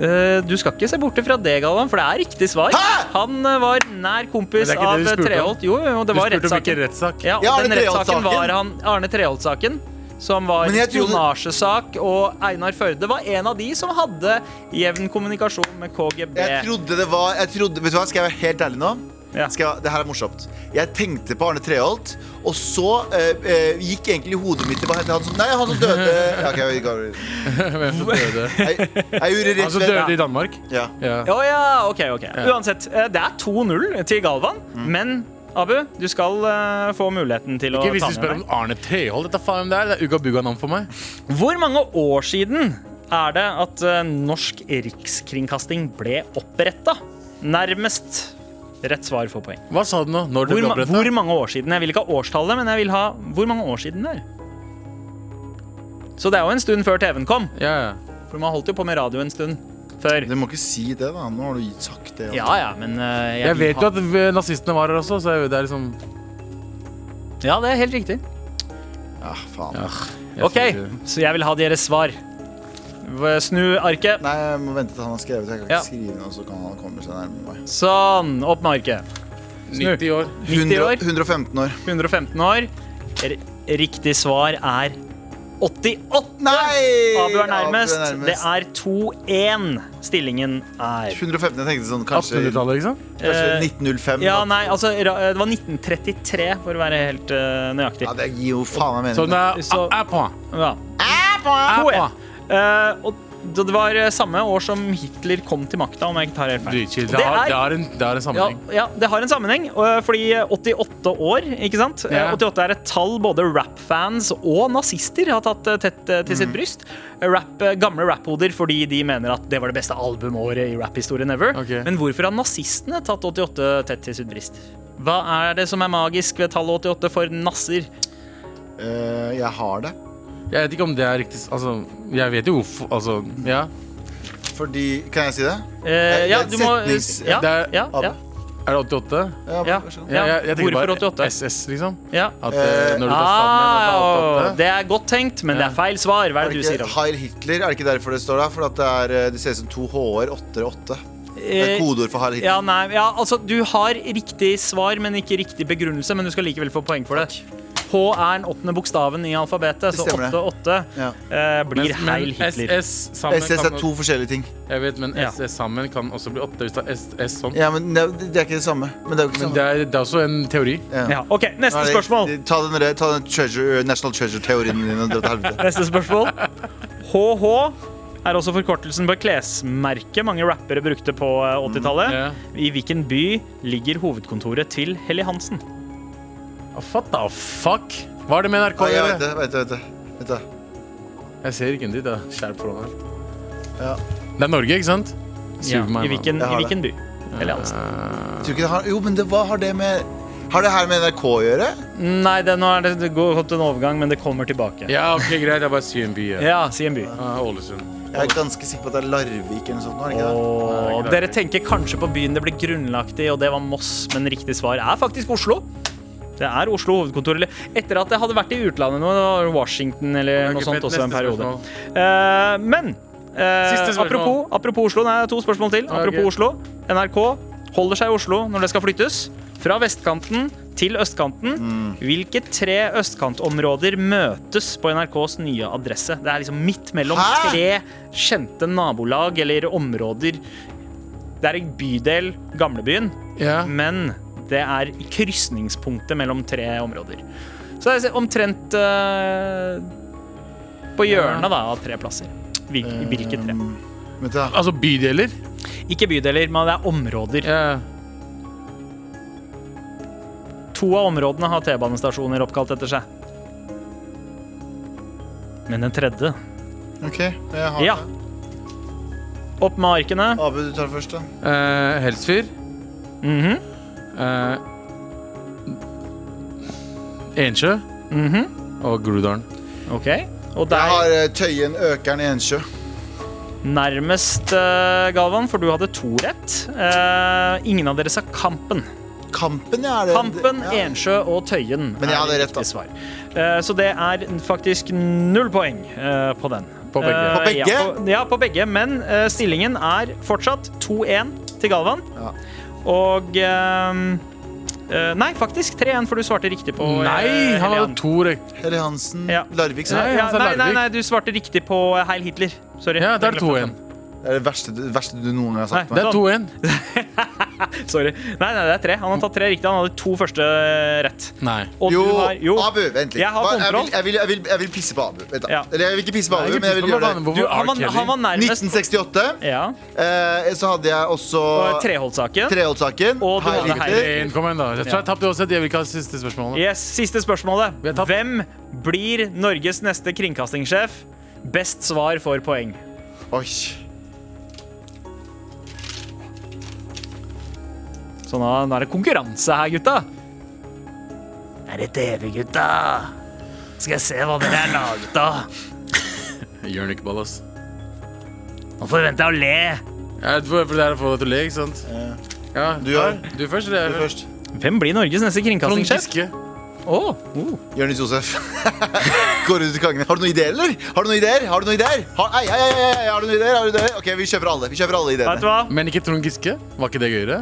Speaker 2: Eh, Du skal ikke se bort fra det, Galvan, for det er riktig svar.
Speaker 3: Hæ?
Speaker 2: Han eh, var nær
Speaker 4: Men
Speaker 2: kompis
Speaker 4: det er ikke
Speaker 2: av
Speaker 4: det du spurte om.
Speaker 2: Treholt. Jo, jo, det
Speaker 4: Du
Speaker 2: var
Speaker 4: spurte om hvilken
Speaker 2: rettssaken.
Speaker 4: rettssak.
Speaker 2: Ja, og
Speaker 3: Ja, Arne
Speaker 2: den rettssaken
Speaker 3: Treholt-saken.
Speaker 2: var han Arne Treholt-saken. Som var
Speaker 3: Men
Speaker 2: en
Speaker 3: jeg trodde-
Speaker 2: spionasjesak, og Einar Førde var en av de som hadde jevn kommunikasjon med KGB.
Speaker 3: Jeg trodde det var jeg trodde, Vet du hva, Skal jeg være helt ærlig nå?
Speaker 2: Ja.
Speaker 3: Skal jeg, det her er morsomt. Jeg tenkte på Arne Treholt, og så eh, eh, gikk egentlig hodet mitt til hva heter han som Nei, han som døde ja, ok, jeg, jeg,
Speaker 4: Døde.
Speaker 3: jeg, jeg gjorde
Speaker 4: Han
Speaker 3: rett
Speaker 4: som
Speaker 3: ved
Speaker 4: døde i Danmark.
Speaker 3: ja.
Speaker 4: Ja.
Speaker 2: Å ja, ok, ok. Uansett, eh, det er 2-0 til Galvan,
Speaker 4: Mm.
Speaker 2: men Abu, du skal eh, få muligheten til å
Speaker 4: Ikke hvis
Speaker 2: ta med
Speaker 4: du spør om Arne Treholt. Dette faen hvem det er. Det er Uga Buga navn for meg.
Speaker 2: deg. Hvor mange år siden er det at eh, Norsk Rikskringkasting ble oppretta? Nærmest rett svar får poeng.
Speaker 4: Hva sa du nå? Når det
Speaker 2: Hvor,
Speaker 4: ble
Speaker 2: ma
Speaker 4: opprettet?
Speaker 2: hvor mange år siden? Jeg vil ikke ha årstallet, men jeg vil ha hvor mange år siden det er. Så det er jo en stund før TV-en kom.
Speaker 4: Ja, ja.
Speaker 2: For man holdt jo på med radio en stund før.
Speaker 3: Du må ikke si det, da. Nå har du sagt det.
Speaker 2: Ja, ja, men eh, jeg,
Speaker 4: Jeg
Speaker 2: vil
Speaker 4: vet
Speaker 2: ha-
Speaker 4: jo at eh, nazistene var her også, så jeg vet, det er liksom
Speaker 2: Ja, det er helt riktig.
Speaker 3: Ja, faen.
Speaker 4: jeg
Speaker 2: Ok,
Speaker 4: tror ikke-
Speaker 2: så jeg vil ha deres svar. V- Snu arket.
Speaker 3: Nei, jeg må vente til han har skrevet. Jeg kan ikke
Speaker 2: Ja.
Speaker 3: skrive noe, så kan han komme seg nærmere meg.
Speaker 2: Sånn. Opp med arket.
Speaker 4: 90 år.
Speaker 2: 90 år.
Speaker 3: 100, 115 år.
Speaker 2: 115 år. R riktig svar er
Speaker 8: 88!
Speaker 3: Nei!
Speaker 2: Abu er nærmest.
Speaker 3: Abu er nærmest.
Speaker 2: Det er 2-1 stillingen er.
Speaker 3: 115, jeg tenkte sånn kanskje,
Speaker 4: 1800-tallet, ikke sant?
Speaker 3: kanskje
Speaker 2: Eh,
Speaker 3: 1905.
Speaker 2: Ja,
Speaker 3: da.
Speaker 2: nei, altså ra- Det var 1933, for å være helt eh, nøyaktig.
Speaker 3: ja, det gir jo faen meg
Speaker 4: Så
Speaker 2: Sånn
Speaker 3: mening.
Speaker 4: det er
Speaker 2: Så-
Speaker 4: ah, ah, point.
Speaker 2: Ja.
Speaker 4: Ah,
Speaker 2: To, ja.
Speaker 4: point.
Speaker 2: Eh, og det var eh, samme år som Hitler kom til makta, om jeg ikke tar helt feil.
Speaker 4: Dritchill.
Speaker 2: Det
Speaker 4: Det har,
Speaker 2: er-
Speaker 4: det har en, det har
Speaker 2: Ja,
Speaker 4: en sammenheng.
Speaker 2: ja, det har en sammenheng, øh, fordi 88 år, ikke sant?
Speaker 4: Ja.
Speaker 2: Eh, 88 er et tall både rap-fans og nazister har tatt eh, tett eh, til
Speaker 4: Mm.
Speaker 2: sitt bryst. Rap, eh, gamle rap-hoder fordi de mener at det var det beste albumåret i rap-historien ever.
Speaker 4: Ok.
Speaker 2: Men hvorfor har nazistene tatt 88 tett til sitt bryst? Hva er det som er magisk ved tallet 88 for nasser?
Speaker 3: Eh, jeg har det.
Speaker 4: Jeg vet ikke om det er riktig Altså, jeg vet jo hvorfor altså, ja.
Speaker 3: Fordi Kan jeg si det?
Speaker 2: Eh, ja,
Speaker 3: det
Speaker 2: du
Speaker 3: er
Speaker 2: må
Speaker 3: setnings-
Speaker 2: ja,
Speaker 4: det er-
Speaker 2: ja, ja,
Speaker 4: Er det 88?
Speaker 3: Ja,
Speaker 2: ja,
Speaker 3: vær så god.
Speaker 4: Ja, jeg, jeg tenker
Speaker 2: Hvorfor
Speaker 4: bare
Speaker 2: 88?
Speaker 4: SS, liksom.
Speaker 2: Ja.
Speaker 4: At eh, når du tar
Speaker 2: Ah,
Speaker 4: sammen at det er 88.
Speaker 2: det er godt tenkt, men det er feil svar. Hva
Speaker 3: Er
Speaker 2: er det
Speaker 3: det
Speaker 2: du sier?
Speaker 3: ikke
Speaker 2: Ronny?
Speaker 3: Heil Hitler? Er det ikke derfor det står der? For at det, er, eh, det ser ut som to H-er, åtter og åtte. Det er
Speaker 2: Eh,
Speaker 3: kodeord for Heil Hitler.
Speaker 2: Ja, nei, ja, altså Du har riktig svar, men ikke riktig begrunnelse. Men du skal likevel få poeng for det. H er den åttende bokstaven i alfabetet, så
Speaker 3: stemmer det.
Speaker 2: 8-8
Speaker 3: Ja.
Speaker 2: eh, blir
Speaker 4: Men,
Speaker 2: heil
Speaker 4: men
Speaker 2: Hitler.
Speaker 4: SS sammen
Speaker 3: SS
Speaker 4: kan
Speaker 3: er to forskjellige ting.
Speaker 4: Jeg vet, men
Speaker 2: Ja.
Speaker 4: SS sammen kan også bli 8 hvis det er SS sånn.
Speaker 3: Ja, men det, er- det er ikke det samme. Men det er jo ikke det
Speaker 4: Men
Speaker 3: samme.
Speaker 4: det er, det er også en teori.
Speaker 2: Ja, ok, Neste
Speaker 3: Nei, det-
Speaker 2: spørsmål.
Speaker 3: Ta den, der- ta den treasure, National Treasure-teorien din. og dra til helvete.
Speaker 2: Neste spørsmål. HH er også forkortelsen på klesmerket mange rappere brukte på eh, 80-tallet.
Speaker 4: ja.
Speaker 2: I hvilken by ligger hovedkontoret til Helly Hansen?
Speaker 4: What the fuck? Hva er det med NRK
Speaker 3: Å,
Speaker 4: å
Speaker 3: jeg vet
Speaker 4: gjøre?
Speaker 3: det, vet det, vet det. Vet det.
Speaker 4: Jeg ser ikke en dritt. jeg. Skjerp foran her.
Speaker 3: Ja.
Speaker 4: Det er Norge, ikke sant?
Speaker 2: Ja,
Speaker 4: Superman,
Speaker 2: I hvilken,
Speaker 3: Jeg
Speaker 2: i
Speaker 3: har
Speaker 2: hvilken by? Helly Hansen.
Speaker 3: Tror ikke det har, jo, men det, hva har det med Har det her med NRK å gjøre?
Speaker 2: Nei, det, nå er det, det går opp til en overgang, men det kommer tilbake.
Speaker 4: Ja, ok, greit. Jeg bare sier en by. Ja.
Speaker 2: Ja, si
Speaker 3: Eh,
Speaker 2: en by.
Speaker 4: Ah, Ålesund.
Speaker 3: Jeg er ganske sikker på at det er Larvik eller noe sånt. nå, Er det ikke det?
Speaker 2: Åh, dere tenker kanskje på byen det ble grunnlagt i, og det var Moss, men riktig svar er faktisk Oslo. Det er Oslo hovedkontor. eller Etter at det hadde vært i utlandet nå, det var Washington eller
Speaker 4: Ok,
Speaker 2: noe sånt
Speaker 4: fett.
Speaker 2: også en
Speaker 4: Neste
Speaker 2: periode.
Speaker 4: spørsmål.
Speaker 2: Eh, men eh,
Speaker 4: Siste spørsmål.
Speaker 2: apropos, apropos Oslo, nei, to spørsmål til.
Speaker 4: ok.
Speaker 2: Apropos Oslo. NRK holder seg i Oslo når det skal flyttes. Fra vestkanten til østkanten.
Speaker 4: Mm.
Speaker 2: Hvilke tre østkantområder møtes på NRKs nye adresse? Det er liksom midt mellom
Speaker 3: Hæ?
Speaker 2: tre kjente nabolag eller områder. Det er en bydel, Gamlebyen,
Speaker 4: Ja.
Speaker 2: men det er i krysningspunktet mellom tre områder. Så det er omtrent eh, på hjørnet da, av tre plasser. Hvil- Hvilke tre?
Speaker 3: Eh. Vent da.
Speaker 4: Altså bydeler?
Speaker 2: Ikke bydeler, men det er områder.
Speaker 4: Ja.
Speaker 2: To av områdene har T-banestasjoner oppkalt etter seg. Men den tredje
Speaker 3: OK, jeg har
Speaker 2: Ja.
Speaker 3: det.
Speaker 2: Opp med arkene.
Speaker 3: Abu, du tar først, da.
Speaker 4: Eh, Helsfyr.
Speaker 2: Mhm.
Speaker 4: Eh, Ensjø. Mhm. Og Groruddalen.
Speaker 2: OK. Og
Speaker 3: Jeg
Speaker 2: der
Speaker 3: har eh, Tøyen, Økeren, Ensjø.
Speaker 2: nærmest, eh, Galvan, for du hadde to rett. Eh, ingen av dere sa Kampen.
Speaker 3: Kampen, ja. Er det,
Speaker 2: Kampen,
Speaker 3: ja.
Speaker 2: Ensjø og Tøyen.
Speaker 3: Men jeg
Speaker 2: er
Speaker 3: hadde
Speaker 2: riktig
Speaker 3: rett, da.
Speaker 2: Svar. Eh, så det er faktisk null poeng eh, på den.
Speaker 4: På begge.
Speaker 2: Eh,
Speaker 3: På begge?
Speaker 2: Ja, på, ja, på begge. Men eh, stillingen er fortsatt 2-1 til Galvan.
Speaker 3: Ja.
Speaker 2: Og ehm, eh, Nei, faktisk 3-1, for du svarte riktig på eh,
Speaker 4: Nei, han hadde
Speaker 2: Helland.
Speaker 4: to rek...
Speaker 3: Helly Hansen.
Speaker 2: Ja.
Speaker 3: Larvik, sa
Speaker 2: Ja,
Speaker 3: jeg.
Speaker 4: Nei,
Speaker 2: ja,
Speaker 4: han sa
Speaker 2: nei, nei,
Speaker 4: Larvik.
Speaker 2: nei, du svarte riktig på eh, Heil Hitler. Sorry.
Speaker 4: Ja, det er
Speaker 2: Jeg glemte
Speaker 4: 2-1.
Speaker 3: Det er det verste, det verste du noen gang har sagt
Speaker 2: Nei,
Speaker 3: til
Speaker 4: Det
Speaker 3: meg.
Speaker 4: er 2-1.
Speaker 2: den. Sorry. Nei, nei, det er tre. Han har tatt tre riktig. Han hadde to første eh, rett.
Speaker 4: Nei.
Speaker 2: Og
Speaker 3: Jo,
Speaker 2: du har Jo.
Speaker 3: Abu, vent litt.
Speaker 2: Jeg har
Speaker 3: Hva- jeg,
Speaker 2: kontroll.
Speaker 3: vil, jeg, vil, jeg, vil, jeg vil pisse på Abu. Vent da.
Speaker 2: Ja.
Speaker 3: Eller jeg vil ikke pisse på Abu, men jeg vil gjøre det.
Speaker 2: Du, han, var, han var nærmest
Speaker 3: 1968.
Speaker 2: Ja.
Speaker 3: Eh, så hadde jeg også
Speaker 2: Og Treholdt-saken.
Speaker 3: Treholdt-saken.
Speaker 2: Og du
Speaker 3: Heil
Speaker 2: hadde
Speaker 3: Hitler.
Speaker 2: Heil-
Speaker 4: Kom igjen, da. Jeg tror jeg tapte uansett. Jeg vil ikke ha siste spørsmålet.
Speaker 2: Yes, Siste spørsmålet.
Speaker 4: Vi har tapt.
Speaker 2: Hvem blir Norges neste kringkastingssjef? Best svar får poeng.
Speaker 3: Oi.
Speaker 2: Så nå, nå er det konkurranse her, gutta. Er det TV, gutta? Skal jeg se hva dere er laget av.
Speaker 4: Jørnik Ballas.
Speaker 2: Nå forventer jeg å le.
Speaker 4: Jeg tror for det er å få deg til å le, ikke sant? Ja,
Speaker 3: Du har-
Speaker 4: Du først, eller Sånn jeg
Speaker 3: Du først.
Speaker 2: Hvem blir Norges neste
Speaker 4: Trond
Speaker 2: kringkastingssjef?
Speaker 4: Giske.
Speaker 2: Åh, oh.
Speaker 3: Jonis Josef. Går ut i gangen. Har du noen ideer, eller? Har du noen ideer? Har du noen ideer? Har, ei, ei, ei, ei, ei, har du noen ideer? Har du noen ideer? Ok, vi kjøper alle. Vi kjøper alle
Speaker 2: Vet du
Speaker 3: ideene.
Speaker 2: hva?
Speaker 4: Men ikke Trond Giske? Var ikke det gøyere?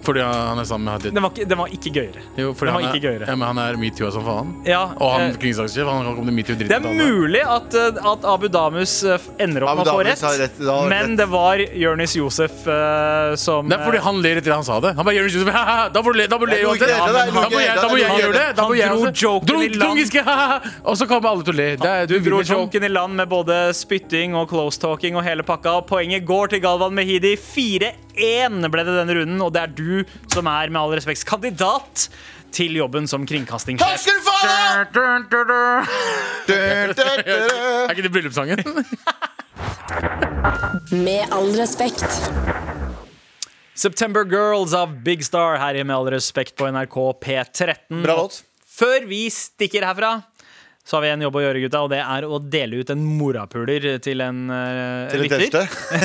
Speaker 4: Fordi han er sammen med Hadia.
Speaker 2: Den var ikke, den var ikke gøyere.
Speaker 4: Jo, fordi
Speaker 2: den var
Speaker 4: han er,
Speaker 2: ikke gøyere.
Speaker 4: Ja, men han er metoo som faen.
Speaker 2: Ja,
Speaker 4: Og han
Speaker 2: eh,
Speaker 4: kringkastingssjef, han kan komme til metoo-dritten.
Speaker 2: det er mulig at, eh, at Abu Damus eh, ender opp
Speaker 3: Abu
Speaker 2: med å få
Speaker 3: Damus
Speaker 2: rett,
Speaker 3: har rett, da har
Speaker 2: men
Speaker 3: rett.
Speaker 2: det var Jonis Josef eh, som
Speaker 4: Det er fordi han ler etter han sa det. Han bare gjør det sånn, «Haha, Da må du le, da må du le
Speaker 3: Jeg tror ikke
Speaker 4: uansett.
Speaker 3: det, det
Speaker 4: Da
Speaker 3: er
Speaker 4: må
Speaker 3: ikke- det
Speaker 4: jeg,
Speaker 3: er
Speaker 4: da
Speaker 3: sånn,
Speaker 4: må jeg
Speaker 3: ikke-
Speaker 4: gjøre det. Da må
Speaker 2: Han
Speaker 4: jeg
Speaker 2: dro
Speaker 4: også-
Speaker 2: joken
Speaker 4: Dro-
Speaker 2: i land.
Speaker 4: Trungiske, «Haha». Og så kommer alle til å le. Det er, du,
Speaker 2: dro
Speaker 4: vinner sånn.
Speaker 2: joken i land med både spytting og close-talking og hele pakka. Poenget går til Galvan Mehidi. 4-1 ble det denne runden, og det er du som er, med all respekt, kandidat til jobben som
Speaker 3: Takk
Speaker 2: kringkastingssjef.
Speaker 3: skal du få! Dun, dun, dun, dun.
Speaker 4: Er ikke det bryllupssangen?
Speaker 9: Med all respekt.
Speaker 2: September Girls av Big Star her i Med all respekt på NRK P13.
Speaker 3: Bra låt.
Speaker 2: Før vi stikker herfra, så har vi en jobb å gjøre, gutta, og det er å dele ut en morapuler til en eh,
Speaker 3: Til den
Speaker 2: lytter.
Speaker 3: tøffeste.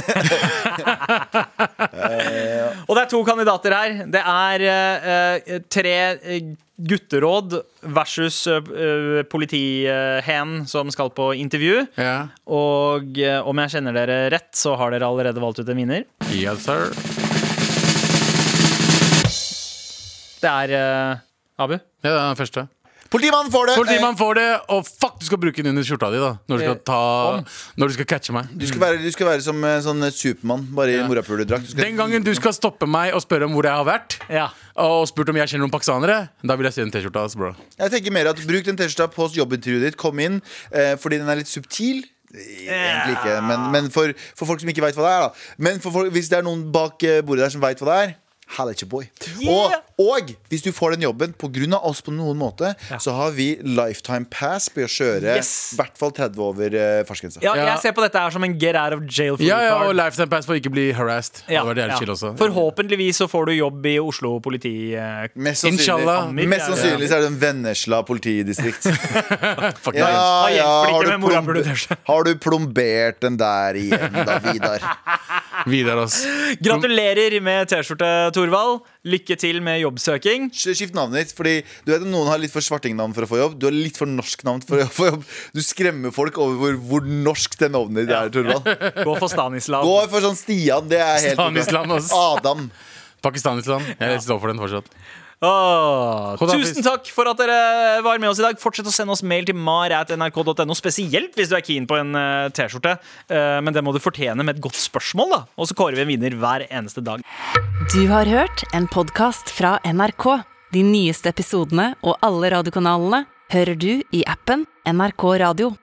Speaker 2: Og det er to kandidater her. Det er eh, eh, tre eh, gutteråd versus uh, politihen som skal på intervju.
Speaker 4: ja.
Speaker 2: Og eh, om jeg kjenner dere rett, så har dere allerede valgt ut en vinner.
Speaker 4: Yes, sir.
Speaker 2: Det er eh, Abu.
Speaker 4: Ja, det er den første.
Speaker 3: Politimannen får det.
Speaker 4: Politimannen får det, og fuck, du skal bruke den under skjorta di da når du skal,
Speaker 2: Eh,
Speaker 4: ta, når du skal catche meg.
Speaker 3: Du skal, være, du skal være som eh, sånn Supermann, bare i morapulerdrakt. Du skal-
Speaker 4: Den gangen du skal stoppe meg og spørre om hvor jeg har vært,
Speaker 2: Ja.
Speaker 4: og spurt om jeg kjenner noen pakistanere, da vil jeg se den T-skjorta. ass, bro
Speaker 3: Jeg tenker mer at Bruk den T-skjorta på jobbintervjuet ditt. Kom inn, eh, fordi den er litt subtil. Egentlig ikke, men, men for, for folk som ikke veit hva det er. da Men for folk, hvis det er noen bak eh, bordet der som veit hva det er, halla at your boy. Og, og hvis du får den jobben pga. oss på noen måte, så har vi lifetime pass på å kjøre i
Speaker 2: Yes.
Speaker 3: hvert fall 30 over eh, fartsgrensa.
Speaker 2: Ja,
Speaker 4: Ja.
Speaker 2: Jeg ser på dette her som en get out of jail free
Speaker 4: Ja, ja,
Speaker 2: card.
Speaker 4: og lifetime pass for ikke bli harassed.
Speaker 2: Ja,
Speaker 4: det var det
Speaker 2: ja.
Speaker 4: jævlig chill også
Speaker 2: Forhåpentligvis så får du jobb i Oslo politi. eh,
Speaker 3: Mest sannsynlig,
Speaker 4: Inshallah.
Speaker 3: mest sannsynlig så er det en Vennesla politidistrikt.
Speaker 4: Fuck
Speaker 3: Ja,
Speaker 4: nice.
Speaker 2: Da hjelper det
Speaker 3: ja,
Speaker 2: ikke
Speaker 3: har, du
Speaker 2: med morapuler,
Speaker 3: plomb-
Speaker 2: kanskje.
Speaker 3: har du plombert den der igjen, da, Vidar?
Speaker 4: Vidar, ass.
Speaker 2: Gratulerer med T-skjorte, Thorvald. Lykke til med jobbsøking.
Speaker 3: Sk- Skift navnet ditt. Fordi du vet at Noen har litt for svartingnavn for å få jobb. Du har litt for norsk navn for å få jobb. Du skremmer folk over hvor, hvor norsk det navnet ditt er. Torvald.
Speaker 2: Gå for Stanislav.
Speaker 3: Gå for sånn Stian. Det er helt
Speaker 4: Stanislam, ass.
Speaker 3: Adam.
Speaker 4: Pakistan-Island. Jeg står for den fortsatt.
Speaker 2: Åh,
Speaker 4: Kod
Speaker 2: tusen
Speaker 4: Hafiz.
Speaker 2: takk for at dere var med oss i dag. Fortsett å sende oss mail til mar.nrk.no, spesielt hvis du er keen på en eh, T-skjorte. Eh, men det må du fortjene med et godt spørsmål, da. Og så kårer vi en vinner hver eneste dag.
Speaker 1: Du har hørt en podcast fra NRK. De nyeste episodene og alle radiokanalene hører du i appen NRK Radio.